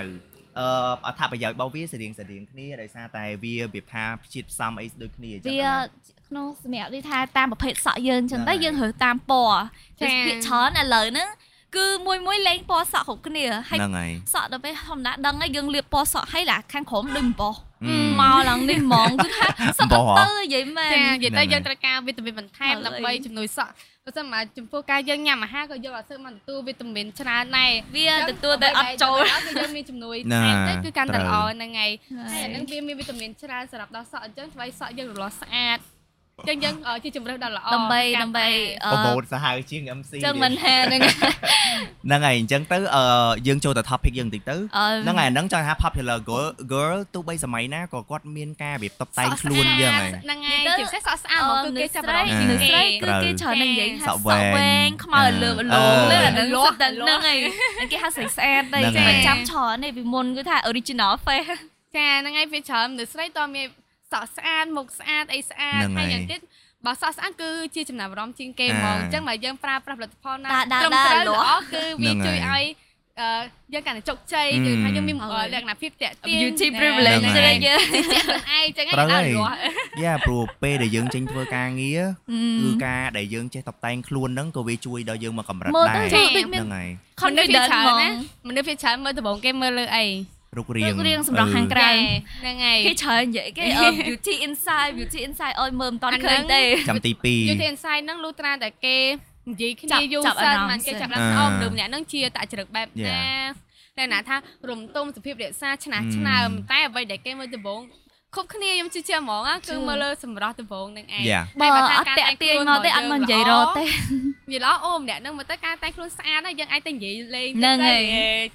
អឺអត្ថប្រយោជន៍របស់វាស្រដៀងស្រដៀងគ្នាដោយសារតែវាវាថាជាតិផ្សំអីដូចគ្នាអញ្ចឹង វា ណា ក្នុងសម្រាប់ដូចថាតាមប្រភេទសក់យើងចឹងទៅ ហ្នឹងហើយ យើងរើសតាមពណ៌ ចា៎ ចា៎វាច្រើនឥឡូវហ្នឹងគឺមួយមួយលេងពណ៌សក់គ្រប់គ្នាហើយ ហ្នឹងហើយ សក់ដល់ពេលធម្មតាដឹងហើយយើងលាបពណ៌សក់ហើយឡាខាងក្រោមដូចអំបោះ អឺ មកឡើងនេះហ្មងគឺថាស អំ ក់ បោះហ៎ទៅនិយាយមែន ចានិយាយហ្នឹងហើយទៅយើងត្រូវការវីតាមីនបន្ថែម ហើយ ដើម្បីជំនួយសក់បើសិនមកចំពោះការយើងញ៉ាំអាហារក៏យើងអាចធ្វើមកទទួលវីតាមីនច្រើនដែរ វាទទួលតែអត់ចូល អ្វីដែលយើងមានជំនួយ ណា ថែមទៅគឺកាន់តែ ត្រូវ ល្អហ្នឹងហើយ ហើ ហើយ យ អានឹងវាមានវីតាមីនច្រើនសម្រាប់ដល់សក់អញ្ចឹងធ្វើឲ្យសក់យើងរលាស់ស្អាតអញ្ចឹងយើងអឺជាជំរឿនដ៏ល្អ ដើម្បី កាដើន់ម្បី តែ អ ប្រមូ ឺ លសាហាវជាង MC ចឹងមិនហែហ្នឹង *laughs* ហ្នឹងហើយអញ្ចឹងទៅអឺយើងចូលទៅ topic យើងបន្តិចទៅ អឺ ហ្នឹងហើយអាហ្នឹងចង់ថា popular girl girl ទោះបីសម័យណាក៏គាត់មានការរៀបតបតែងខ្លួនយើងហើយ ហ្នឹងហើយ និយាយទៅ ជាពិសេសសក់ស្អា À, តហ្មក ờ, គឺគេចាប់អារម្មណ៍ អឺ ពី នៅ គេ ស្រីគឺ ត្រូវ គេច្រើននិយាយថា សក់សក់ វែងវែងខ្មៅ អឺ លើលងលើអា អឺ ហ្នឹង លាស់ តែហ្នឹង លាស់ ហើយគេហៅស្រីស្អាតដែរ ហ្នឹង ចា ហើយ ចាំច្រើននេះពីមុនគឺថា original face ចាហ្នឹងហើយវាច្រើនមនុស្សស្រីតើមានសក់ស្អាតមុខស្អាតអីស្អាត ហ្នឹង ហើយ ហើយ យ៉ាងទៀតបើសក់ស្អាតគឺជាចំណាប់អារម្មណ៍ជាងគេហ្មង អា អញ្ចឹងបើយើងប្រើប្រាស់ផលិតផលណា តាតា ត្រឹម តា ត្រូវ ល្អ ល្អគឺវា ហ្នឹង ជួយ ហើ ឲ្យ យ អឺយើងកាន់តែជោគជ័យ អឺ គឺថាយើងមាន ហើយ លក្ខណៈភាពតាក់ទាញ *laughs* beauty ណា privilege ហ្នឹងហើស្រីយ យើង ជាខ្លួនឯងអញ្ចឹត្រូវហើយងឯងដល់លាស់ យ៉ាព្រោះពេលដែលយើងចេញធ្វើការងារ Ừ. គឺការដែលយើងចេះតបតែងខ្លួនហ្នឹងក៏វាជួយដល់យើងមកកម្រិត មើល ដែរហ្ទៅគឺ ចា៎ ដូចមាន នឹងហើយ មនុស្សភាគ confidence ហ្មងច្រើនណាមនុស្សភាគច្រើនមើលដំបងគេមើលលើអី រូបរាង រូបរាងសម្រស់ខាងក្រៅ អឺ ហ្នឹងហើយ គេច្រើននិយាយគេអឺ ờ, beauty inside beauty inside អោយមើលមិនតា អា ន់ ហ្នឹឃើងញទេ ចាំទី យូធីអិនសាយហ្នឹងលុះត្រាតែគេនិយាយ ចា គ្នា ប់ យូរ ចាប់ សិ អា ន រម្មណ៍ បានគេ សិន ចាប់ឡើង អឺ អោមមនុស្សម្នាក់ហ្នឹងជាតចរិតបែបណាតែណាថារំទុំសភាពរក្សាឆ្នះ អឺ ឆ្នើមតែអ្វីដែលគេមើលដំបងខົບគ្នាខ្ញុំជឿជាក់ហ្មងណាគឺមើលលើសម្រស់ដំបងហ្នឹងឯង 2យ៉ា បើអត់តាក់ទាញមកទេអត់មកនិយាយរកទេ វាល្អអូម្នាក់ហ្នឹងមកទៅការតែងខ្លួនស្អាតណាយើងអាចតែនិយាយលេង ហ្នឹង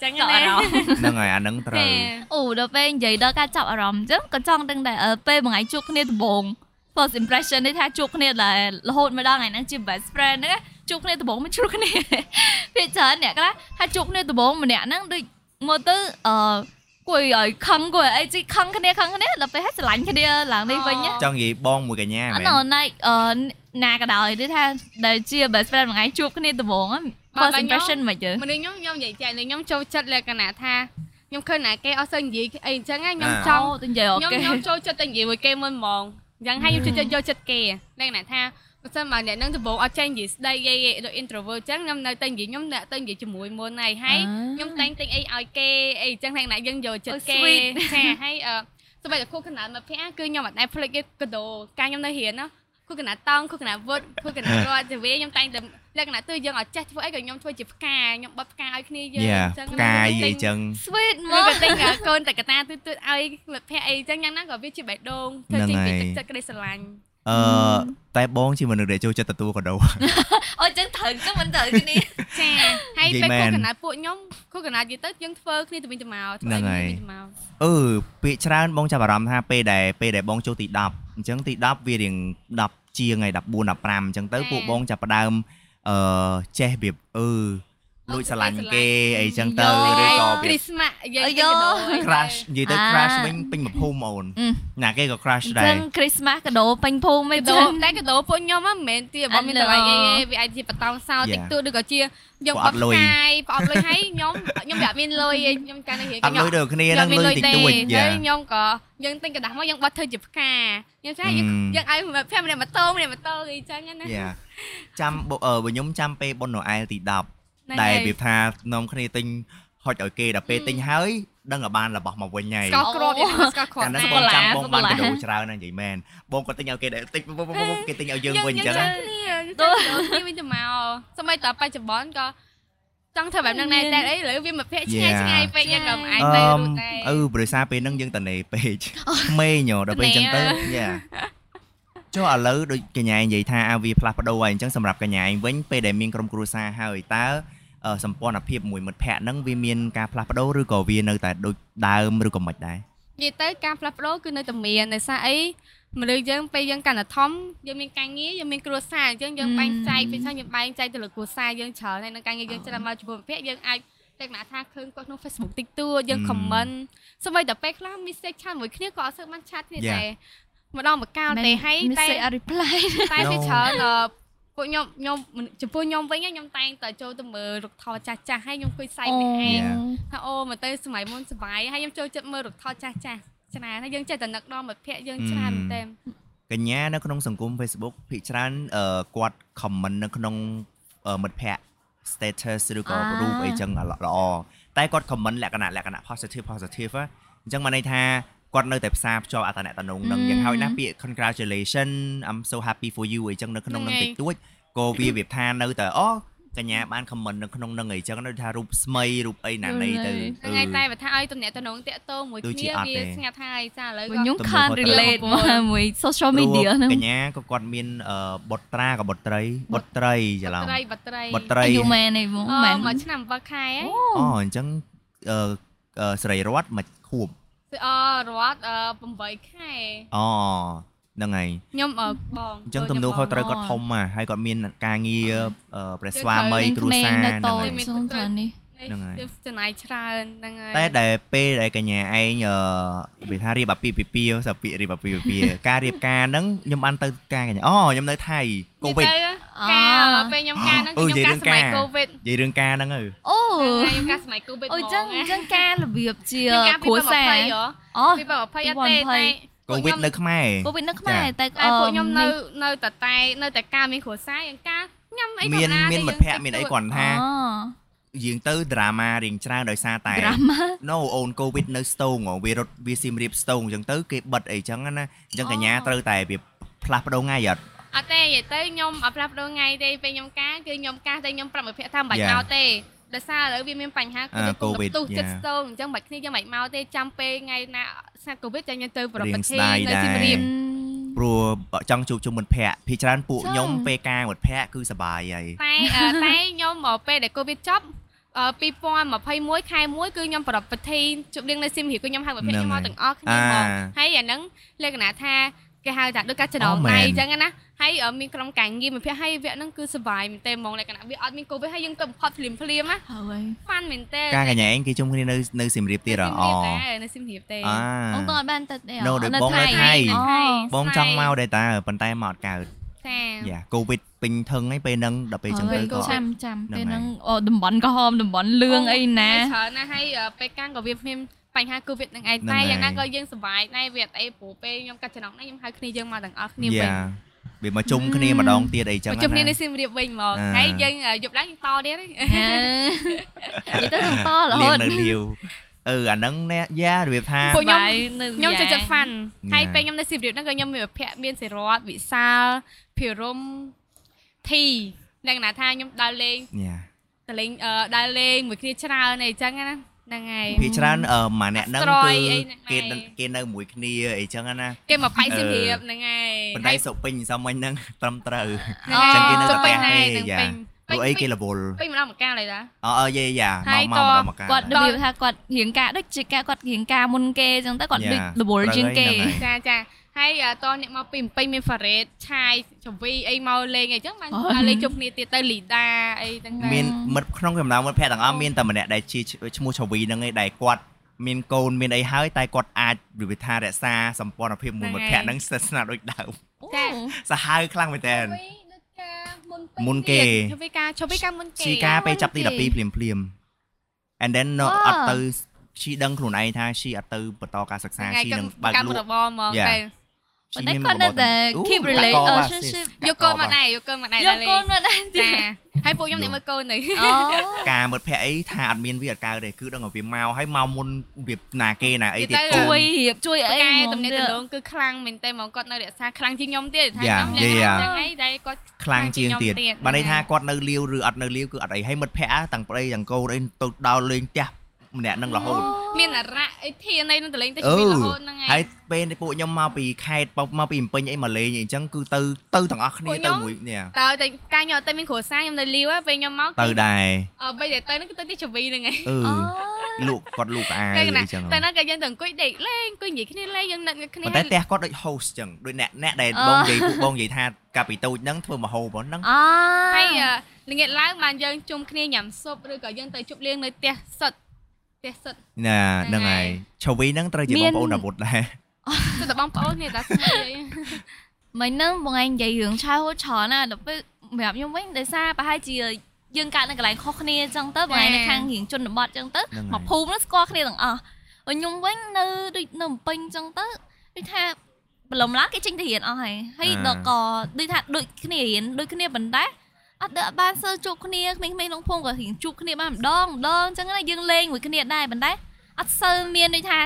ចឹង ចាប់អារម្មណ៍ ហ្នឹងហើយអាហ្នឹងត្រូវ អូដល់ពេលនិយាយដល់ការចាប់អារម្មណ៍អញ្ចឹងក៏ចង់ដឹងដែរអឺពេលមួយថ្ងៃជួបគ្នាដំបូង first impression នេះថាជួបគ្នាដែររហូតមកដល់ថ្ងៃហ្នឹងជា best friend ហ្នឹងជួបគ្នាដំបូងមិនជ្រុះគ្នា *laughs* ភាគច្រើនអ្នកខ្លះថាជួបគ្នាដំបូងម្នាក់ហ្នឹងដូចមើលទៅអឺគួរឲ្យខឹងគួរឲ្យអីជីខឹងគ្នាខឹងគ្នាដល់ពេលឲ្យស្រឡាញ់គ្នាឡើងនេះវិញណា ចង់និយាយបងមួយកញ្ញា អត់ មែន ណណៃអឺណាក៏ដោយទេថាដែលជា best friend មួយថ្ងៃជួបគ្នាដំបូងហ្នឹង បើ first ខ្ញុំ impression មិនយើ មនុស្សខ្ញុំខ្ញុំនិយាយចែកខ្ញុំចូលចិត្តលក្ខណៈថាខ្ញុំឃើញណាគេអត់សូវនិយាយអីចឹងណាខ្ញុំ អ่า ច ច ង់ ង់ទៅនិយាយអូ ខ្ញុំ ខេ ខ្ញុំចូលចិត្តតែនិយាយមួយគេមុនហ្មងយ៉ាងហើយខ្ញុំចូលចិត្តយកចិត្តគេតែគណៈថាបើសិនមកអ្នកនឹងដំបូងអត់ចេះនិយាយស្ដីអីអីដូច introvert អញ្ចឹងខ្ញុំនៅតែនិយាយខ្ញុំអ្នកទៅនិយាយជាមួយមុនហើយហើយ Ờ. ខ្ញុំតែងទិញអីឲ្យគេអីអញ្ចឹងតែគណៈយើងយកចិត្ត អូ គេ sweet *laughs* ចាហើយអឺសម្រាប់តែគូកណ្ដាលមកភ័ក្រគឺខ្ញុំអត់ដែលផ្លេចគេកដោការខ្ញុំនៅរៀនណាគូកណ្ដាលតង់គូកណ្ដាលវុតគូកណ្ដាលរត់ទៅវាខ្ញុំតែងតែលក្ខណៈទៅយើងអត់ចេះធ្វើអីក៏ខ្ញុំធ្វើជាផ្កាខ្ញុំបត់ផ្កាឲ្យគ្នាយើង យ៉ា អញ្ចឹង ផ្កាយអីចឹង sweet ម មក ក ក៏ទិញកូនតកតាទឺទឺឲ្យមិត្តភ័ក្តិអីចឹងយ៉ាងណាក៏វាជាបេះដូងធ្វើជា ហ្នឹងហើយ ពីទឹកចិត្តក្តីស្រឡាញ់ អឺតែបងជាមនុស្សដែលចូលចិត្តទទួលកដោ អូចឹងត្រូវចឹងមិនត្រូវគ្នា ចាហើយ និយាយ ពេល មែនគូកណ្ដាលពួកខ្ញុំគូកណ្ដាលនិយាយទៅយើងធ្វើគ្នាទៅវិញទៅមកធ្វើ ហ្នឹងហើ ឲ្យ យ គ្នាទៅវិញទៅម *laughs* អកឺពាក្យច្រើនបងចាប់អារម្មណ៍ថាពេលដែលពេលដែលបងចូលទី10អញ្ចឹងទី10វារៀង10ជាងហើយ14 15អញ្ចឹងទៅ ចា៎ ពួកបងចាប់ផ្ដើមអឺចេះរបៀបអឺលួចស្រឡាញ់ ស្រឡាញ់ គេអីចឹងទៅ យោ ឬ ហើ ក៏ យវាគ្រីស្មាស់យើង អា ទៅ យ៉ូ កណ្ដោឲ្យ crash និយាយទៅ អា crash វិញពេញមួយភូមិអូន អឺ ណាគេក៏ crash ដែរចឹង Christmas កដោពេញភូមិ ទៅ មិន កណ្ដោ ចឹង តែកណ្ដោពួកខ្ញុំហ្នឹងមិនមែនទីរបស់មានតម្លៃអីទេវាអាចជាបតោងសោតិច Yeah. តួឬក៏ជាយើង ពួក ប អត់ ត់ លុយ ផ្កាយផ្អប់លុយហើយខ្ញុំខ្ញុំវាអត់មានលុយទេខ្ញុំកាន់តែរៀន អត់កញ្ច លុ ក់ យដូចគ្នា យើ នឹង ងមាន លុ លុ យ យ តិច ទេ តួចយ៉ា ហើយខ្ញុំក៏យើងទិញกระดาษមកយើងបត់ធ្វើជាផ្កាយើងថាយើង អឺ យើងឲ្យមិត្តភ័ក្តិម្នាក់ម៉ូតូម្នាក់ម៉ូតូអីចឹងណា យ៉ាចាំបងអឺបងខ្ញុំចាំពេលប៉ុនណូអែលទី10 ហ្នឹង ដែល ហើរយបៀបថានាំគ្នាទិញហុចឲ្យគេដល់ពេលទិញហើយដឹងឲ្យបានរបស់មកវិញហើយ ស្កល់គ្រាប់យើងស្កល់គ្រាប់ កាលហ្នឹ ណា ង ស់ បងចាំបង ស្កល់ បាន ឡា កដោច្រើនណាស់និយាយមែនបងក៏ទិញឲ្យគេដែរទិញពុបពុបពុបគេទិញឲ្យយើងវិញអញ្ចឹង យើងទៅគ្នាវិញទៅមកសម័យតបច្ចុប្បន្នក៏ចង់ធ្វើបែបហ្នឹងដែរតែអីឥឡូវវាមិត្តភ័ក្តិឆ្ងាយឆ្ងាយពេកយើងក៏មិនអាចទៅ អឺម រួចដែរ អឺប្រសាពេលហ្នឹងយើងតនេពេកក្មេញហ៎ដល់ពេលអញ្ចឹងទៅ *laughs* យ៉ាចុះឥឡូវដូចកញ្ញានិយាយថាអាវាផ្លាស់ប្ដូរហើយអញ្ចឹងសម្រាប់កញ្ញាឯងវិញពេលដែលមានក្រុមគ្រួសារហើយតើអឺសម្ព័ន្ធភាពមួយមិត្តភ័ក្ដិហ្នឹងវាមានការផ្លាស់ប្ដូរឬក៏វានៅតែដូចដើមឬក៏មិនដែរ និយាយទៅការផ្លាស់ប្ដូរគឺនៅតែមានដោយសារអីមនុស្សយើងពេលយើងកាន់តែធំយើងមានការងារយើងមានគ្រួសារអញ្ចឹងយើង អឺ បែងចែកពេលខ្លះយើងបែងចែកទៅលើគ្រួសារយើងច្រើនហើយនៅការងារយើងច្រើនមកជាមួយភ័ក្រយើងអាចតែគណៈថាឃើញគាត់ក្នុង Facebook តិចតួចយើង អឺ comment សូម្បីតែពេលខ្លះ message ឆាតមួយគ្នាក៏អត់សូវបានឆាតគ្នា យ៉ា ដែរ ម្ដងមកកាលទេហើយតែ តែ reply តែពី No. ច្រើនអឺពួកខ្ញុំខ្ញុំចំពោះខ្ញុំវិញខ្ញុំតែងតែចូលទៅមើលរុក្ខធម៌ចាស់ចាស់ហើយខ្ញុំគួយសៃម្នាក់ឯង Yeah. ថាអូមកទៅសម័យមុនសบายហើយខ្ញុំចូលចិត្តមើលរុក្ខធម៌ចាស់ចាស់ច្រើនហើយយើងចេះតែនឹកដល់មិត្តភក្តិយើងច្រើន Mm. មែនទេ កញ្ញានៅក្នុងសង្គម Facebook ភាគច្រើនអឺគាត់ comment នៅក្នុងអឺមិត្តភ័ក្តិ status ឬក៏ អា រូបអីចឹងអាល្អល្អតែគាត់ comment លក្ខណៈលក្ខណៈ positive positive ហ៎អញ្ចឹងមកន័យថាគាត់នៅតែផ្សារភ្ជាប់អត្តនៈតំណងនឹង អឺ យ៉ាងហោចណាស់ពាក្យ congratulation I'm so happy for you អីចឹងនៅក្នុងនឹងតិចតួចក៏វាវាថានៅតែអូកញ្ញាបាន comment នៅក្នុងនឹងអីចឹងដូចថារូបស្មីរូបអីណានៃទៅ ហ្នឹងហើយតែ អឺ បើថាឲ្យតំណាក់តំណងតាក់ទងមួយ ដូចជាអគ្នាត់ វា ទេ ស្ងាត់ហើយសារឥឡូវទំនួខ្ញុំលខុស can't ត្រូវ relate មកមួយ social ព្រោះ media ហ្នឹង កញ្ញាក៏គាត់មានអឺបុត្រាក៏បុត្រីបុត្រីច្រឡំ បត្រីបត្រី បត្រី អា អូ យុមែនឯងហ្មង អូ មែន មកឆ្នាំ7ខែហ៎ អញ្ចឹងអឺអឺសេរីរតន៍មួយខួប អររត់អឺ8ខែ អហ្នឹងហើយ ខ្ញុំអឺបង អញ្ចឹងទំនួលខុសត្រូវគាត់ធំណាស់ហើយគាត់មានការងារអឺព្រះស្វាមីគ្រូសា នៅ ហ្នឹង តូ ហើ ច យ ក្នុងខាងនេះ ហ្នឹង ងហើ ហើយ យចំណាយច្រើនហ្នឹងហើយ តែដែលពេលដែលកញ្ញាឯងអឺវាថារៀបអាពាហ៍ពិពាហ៍សាពាក្យរៀបអាពាហ៍ពិពាហ៍ ការរៀបការហ្នឹងខ្ញុំបានទៅការកញ្ញាអូខ្ញុំនៅថៃកូវីដ និយាយអ่าទៅការពេលខ្ញុំការហ្នឹង អូ គឺ និយាយ ខ្ញុំការសម័យ រឿងការនិយាយរឿងការ COVID ហ្នឹងទៅ អូ ហ្នឹងខ្ញុំការសម័យ COVID អូចឹង ហ្ម ចឹងការរបៀបជា ខ្ញុំការ គ្រួ 2020ហ៎ សារអូ 2020អត់ទេតែ កូវីដនៅខ្មែរ កូវីដនៅខ្មែរតែ តែពួកខ្ញុំនៅនៅតែតែនៅតែការមានគ្រួសារយើងការញ៉ាំអីធម្ម មាន តា មា ទេ នមិត្តភ័ក្តិមានអី យើង គាត់ថា យើងទៅ drama រៀងច្រើនដោយសារតែ ដ្រាម៉ា no អូនកូវីដនៅស្ទូងហ៎វារត់វាស៊ីមរៀបស្ទូងអញ្ចឹងទៅគេបិទអីចឹងណាអញ្ចឹង អូ កញ្ញាត្រូវតែវាផ្លាស់ប្ដូរថ្ងៃអត់ អត់ទេនិយាយទៅខ្ញុំអត់ផ្លាស់ប្ដូរថ្ងៃទេពេលខ្ញុំការគឺខ្ញុំការតែខ្ញុំប្រាប់មិត្តភ័ក្តិថាមិនបាច់ Yeah. មកទេដោយសារឥឡូវវាមានបញ្ហា អ่า COVID ទុះចិត្ត yeah. ស្ទងអញ្ចឹងបាច់គ្នាយើងមិនបាច់មកទេចាំពេលថ្ងៃណាស្ងាត់ COVID ចាញ់យើងទៅប្រ រៀ ប្រ ង ទេស ស្ដាយ នៅ ដែរ សៀមរាប ព្រោះចង់ជួបជុំមិត្តភ័ក្តិភាគច្រើនពួក ចា ខ្ញុំពេលការមិត្តភ័ក្តិគឺសប្បាយហើយ តែអឺ តែខ្ញុំមកពេលដែលកូវីដចប់អឺ2021ខែ1គឺខ្ញុំប្រកបពិធីជប់លៀងនៅសៀមរាបគឺខ្ញុំហៅប្រភេទខ្ញុំមកទាំងអស់គ្នា អា មកហើយអាហ្នឹងលក្ខណៈថាគេហៅថាដូចការចំណោម អូមែ ដៃ ន អញ្ចឹងណាហើយអឺមានក្រុមការងារមិត្តភ័ក្តិហើយវគ្គហ្នឹងគឺសុបាយមែនទេហ្មងលក្ខណៈវាអត់មានកូវីដហើយយើងទៅបំផុតភ្លាមភ្លាមណា ហើយ ហ្វាន់មែនទេ ការកញ្ញាឯងគេជុំគ្នានៅនៅសៀមរាបទៀត នៅ ហ៎ សៀម អូ រាបដែរនៅសៀមរាបទេ អា បងតអត់បានទៅទេ No ដោយបងនៅថៃ អូ បងចង់មកដែរតើប៉ុន្តែមកអត់កើត ចា យ៉ាកូវីដពេញធឹងហើយពេលហ្នឹងដល់ពេលអញ្ចឹងទៅ អើ ក៏ ចាំចាំ ហ្នឹង ពេល ហើយ ហ្នឹងអូតំបន់ក្រហមតំបន់លឿងអីណា អូច្រើនណាស់ហើយអឺពេលកាំងក៏វាមានបញ្ហា Covid នឹងឯង ហ្នឹង តែ ហើយ យ៉ាងណាក៏យើងសុវ័យដែរវាអត់អីព្រោះពេលខ្ញុំកាត់ចំណងនេះខ្ញុំហៅគ្នាយើងមកទាំងអស់គ្នាវិញ យ៉ាវាមកជុំគ្នាម្ដងទៀតអីចឹង មកជុំគ្នា ណា នៅសៀមរាបវិញមក អ่า ហើយយើងអឺយប់ឡើងយើងតទៀតហី អើនិយាយទៅនឹងតរហូ លៀ ត ងនៅលាវអឺអាហ្នឹងណែយ៉ារបៀបថា ពួកខ្ញុំ បាយនៅ ខ្ញុំចូលចិត្ត fun ហើ Yeah. យពេលខ្ញុំនៅសៀមរាបហ្នឹងក៏ខ្ញុំមានវិភ័ក្រមានសេរតវិសាលភិរមធីលក្ខណៈថាខ្ញុំដើរលេង យ៉ា តលេងអឺដើរលេងមួយគ្នាច្រើនអីចឹងណាហ្នឹងហើយ ភាគច្រើនអឺម៉ាអ្នកហ្នឹង ស្រ័ គឺ យអី គេ ហ្នឹងឯង គេនៅមួយគ្នាអីចឹងណា គេមកបាយសៀមរាបហ្នឹងហើយ ប៉ុន្តែសុពេញសមមិញ *laughs* ហ្នឹងត្រឹមត្រូវ ហ្នឹងហើយ ចឹងគេនៅតែ ចូលពេញ ផ្ទះ ហើយ ទេយ៉ានឹងពេញពេព្ញរោះអីគេ ពេញ រវល់ ពេញម្ដងមកកាលអីតា អអយាយយ៉ា ហើ មកមកយក៏ ម្ដងមកកា គាត់របៀបថាគាត់រៀងការដូចជាការគាត់រៀងការមុនគេអញ្ចឹងទៅគាត់ដូចរវល់ជាងគេ ចាចាហើយអ่าតអ្នកមកពីពេញមាន Forest ឆាយចវីអីមកលេងអីចឹងបាន អូ បានលេងជុំគ្នាទៀតទៅលីដាអីទាំងហ្នឹង មានមិត្តក្នុងចំណោមមិត្តភ័ក្តិទាំងអស់មានតែម្នាក់ដែលជាឈ្មោះឆវីហ្នឹងឯងដែលគាត់មានកូនមានអីហើយតែគាត់អាចរបៀបថារក្សាសម្ព័ន្ធភាពមួយមិត្តភ័ក្តិហ្នឹងស្និទ្ធស្នាលដូច *laughs* ដើមសាហាវខ្លាំងមែនតើ ចវីដូចការមុនពេញ មុនគេ ទៀតចវីការចវីការមុនគេ ជីការពេលចាប់ទី មុនគេ 12ភ្លាមភ្លាមៗ and then នៅ អូ អត់ទៅជីដឹងខ្លួនឯងថាជីអត់ទៅបន្តការសិក្សា ថ្ងៃ ជី ក នឹងបើក កលម្មក់ របរហ្មង Yeah. ទៅ ប៉ុន្តែគាត់នៅតែ keep relationship យកកូនមកដែរយកកូនមកដែរ យក ដល់ កូ លេ ន ង មកដែរទៀត ចាហើយពួកខ្ញុំអ្នកមើលកូននៅ អូ ការមិត្តភ័ក្តិអីថាអត់មានវាអត់កើតទេគឺដឹងថាវាមកហើយមកមុនវាណាគេណាអីទៀត ជួ អូយយរៀប *laughs* ជួយអី តែ ហ្ម តំ ង ណែង ទៀត តំណងគឺខ្លាំងមែនទេហ្មងគាត់នៅរក្សាខ្លាំងជាងខ្ញុំទៀតថា Yeah, ខ្ញុំលក្ខណៈ yeah. ហ្នឹងហើយតែគាត់ ខ្លាំងជាងទៀត ខ្លាំងជាងខ្ញុំទៀត បានន័យថាគាត់នៅលាវឬអត់នៅលាវគឺអត់អីហើយមិត្តភ័ក្តិទាំងប្តីទាំងកូនអីទៅដោលលេងផ្ទះម្នាក់នឹងរហូត មានអរៈអីធានអីនឹងតលេងទៅជួយ អឺ រហូតហ្នឹងឯង ហើយពេលពួកខ្ញុំមកពីខេត្តមកពីភ្នំពេញអីមកលេងអីចឹងគឺទៅទៅទាំងអស់គ្នា ពួកខ្ញុំ ទៅមួយនេះ តើតែការខ្ញុំអត់ទៅមានគ្រួសារខ្ញុំនៅលីវហ៎ពេលខ្ញុំមក ទៅដែរ អឺពេលតែទៅហ្នឹងគឺទៅទីជវីហ្នឹងឯង អឺលក់គាត់លក់អា តែ យ ណា អីចឹង តែណាក៏យើងទៅអង្គុយដេកលេងអង្គុយនិយាយគ្នាលេងយើងនឹកគ្នា ប៉ុន្តែផ្ទះគាត់ដូច host ចឹងដូចអ្នកអ្នកដែល អូ បងនិយាយពួកបងនិយាយថាកាពីតូចហ្នឹងធ្វើមហោបហ្នឹង អូហើ ហើយ យអឺល្ងាចឡើងបានយើងជុំគ្នាញ៉ាំស៊ុបឬក៏យើងទៅជប់លៀងនៅផ្ទះសុតផ្ទះសុត ណា ហ្នឹ ហ្នឹង ង ហើ ហើយ យ ឈវីហ្នឹងត្រូវជា មា បងប្អូននអាវុធដែរ ទៅតែបងប្អូនគ្នាតាស្មីអី មិញហ្នឹងបងឯងនិយាយរឿងឆាវហូតច្រើនណាស់ដល់ពេលសម្រាប់ខ្ញុំវិញដោយសារប្រហែលជាយើងកើតនៅកន្លែងខុសគ្នាអញ្ចឹងទៅបងឯង ចា៎ នៅខាងរៀងជនបទអញ្ចឹងទៅ ហ្នឹងហើយ មកភូមិហ្នឹងស្គាល់គ្នាទាំងអស់ហើយខ្ញុំវិញនៅដូចនៅភ្នំពេញអញ្ចឹងទៅដូចថាប្រឡំឡានគេចេញទៅរៀនអស់ហើយហើយ អា ដល់ក៏ដូចថាដូចគ្នារៀនដូចគ្នាបណ្ដាអត់ដល់បានសើជួបគ្នាក្មេងៗក្នុងភូមិក៏រៀងជួបគ្នាបានម្ដងម្ដងអញ្ចឹងណាយើងលេងមួយគ្នាដែរបណ្ដាអត់សូវមានដូចថា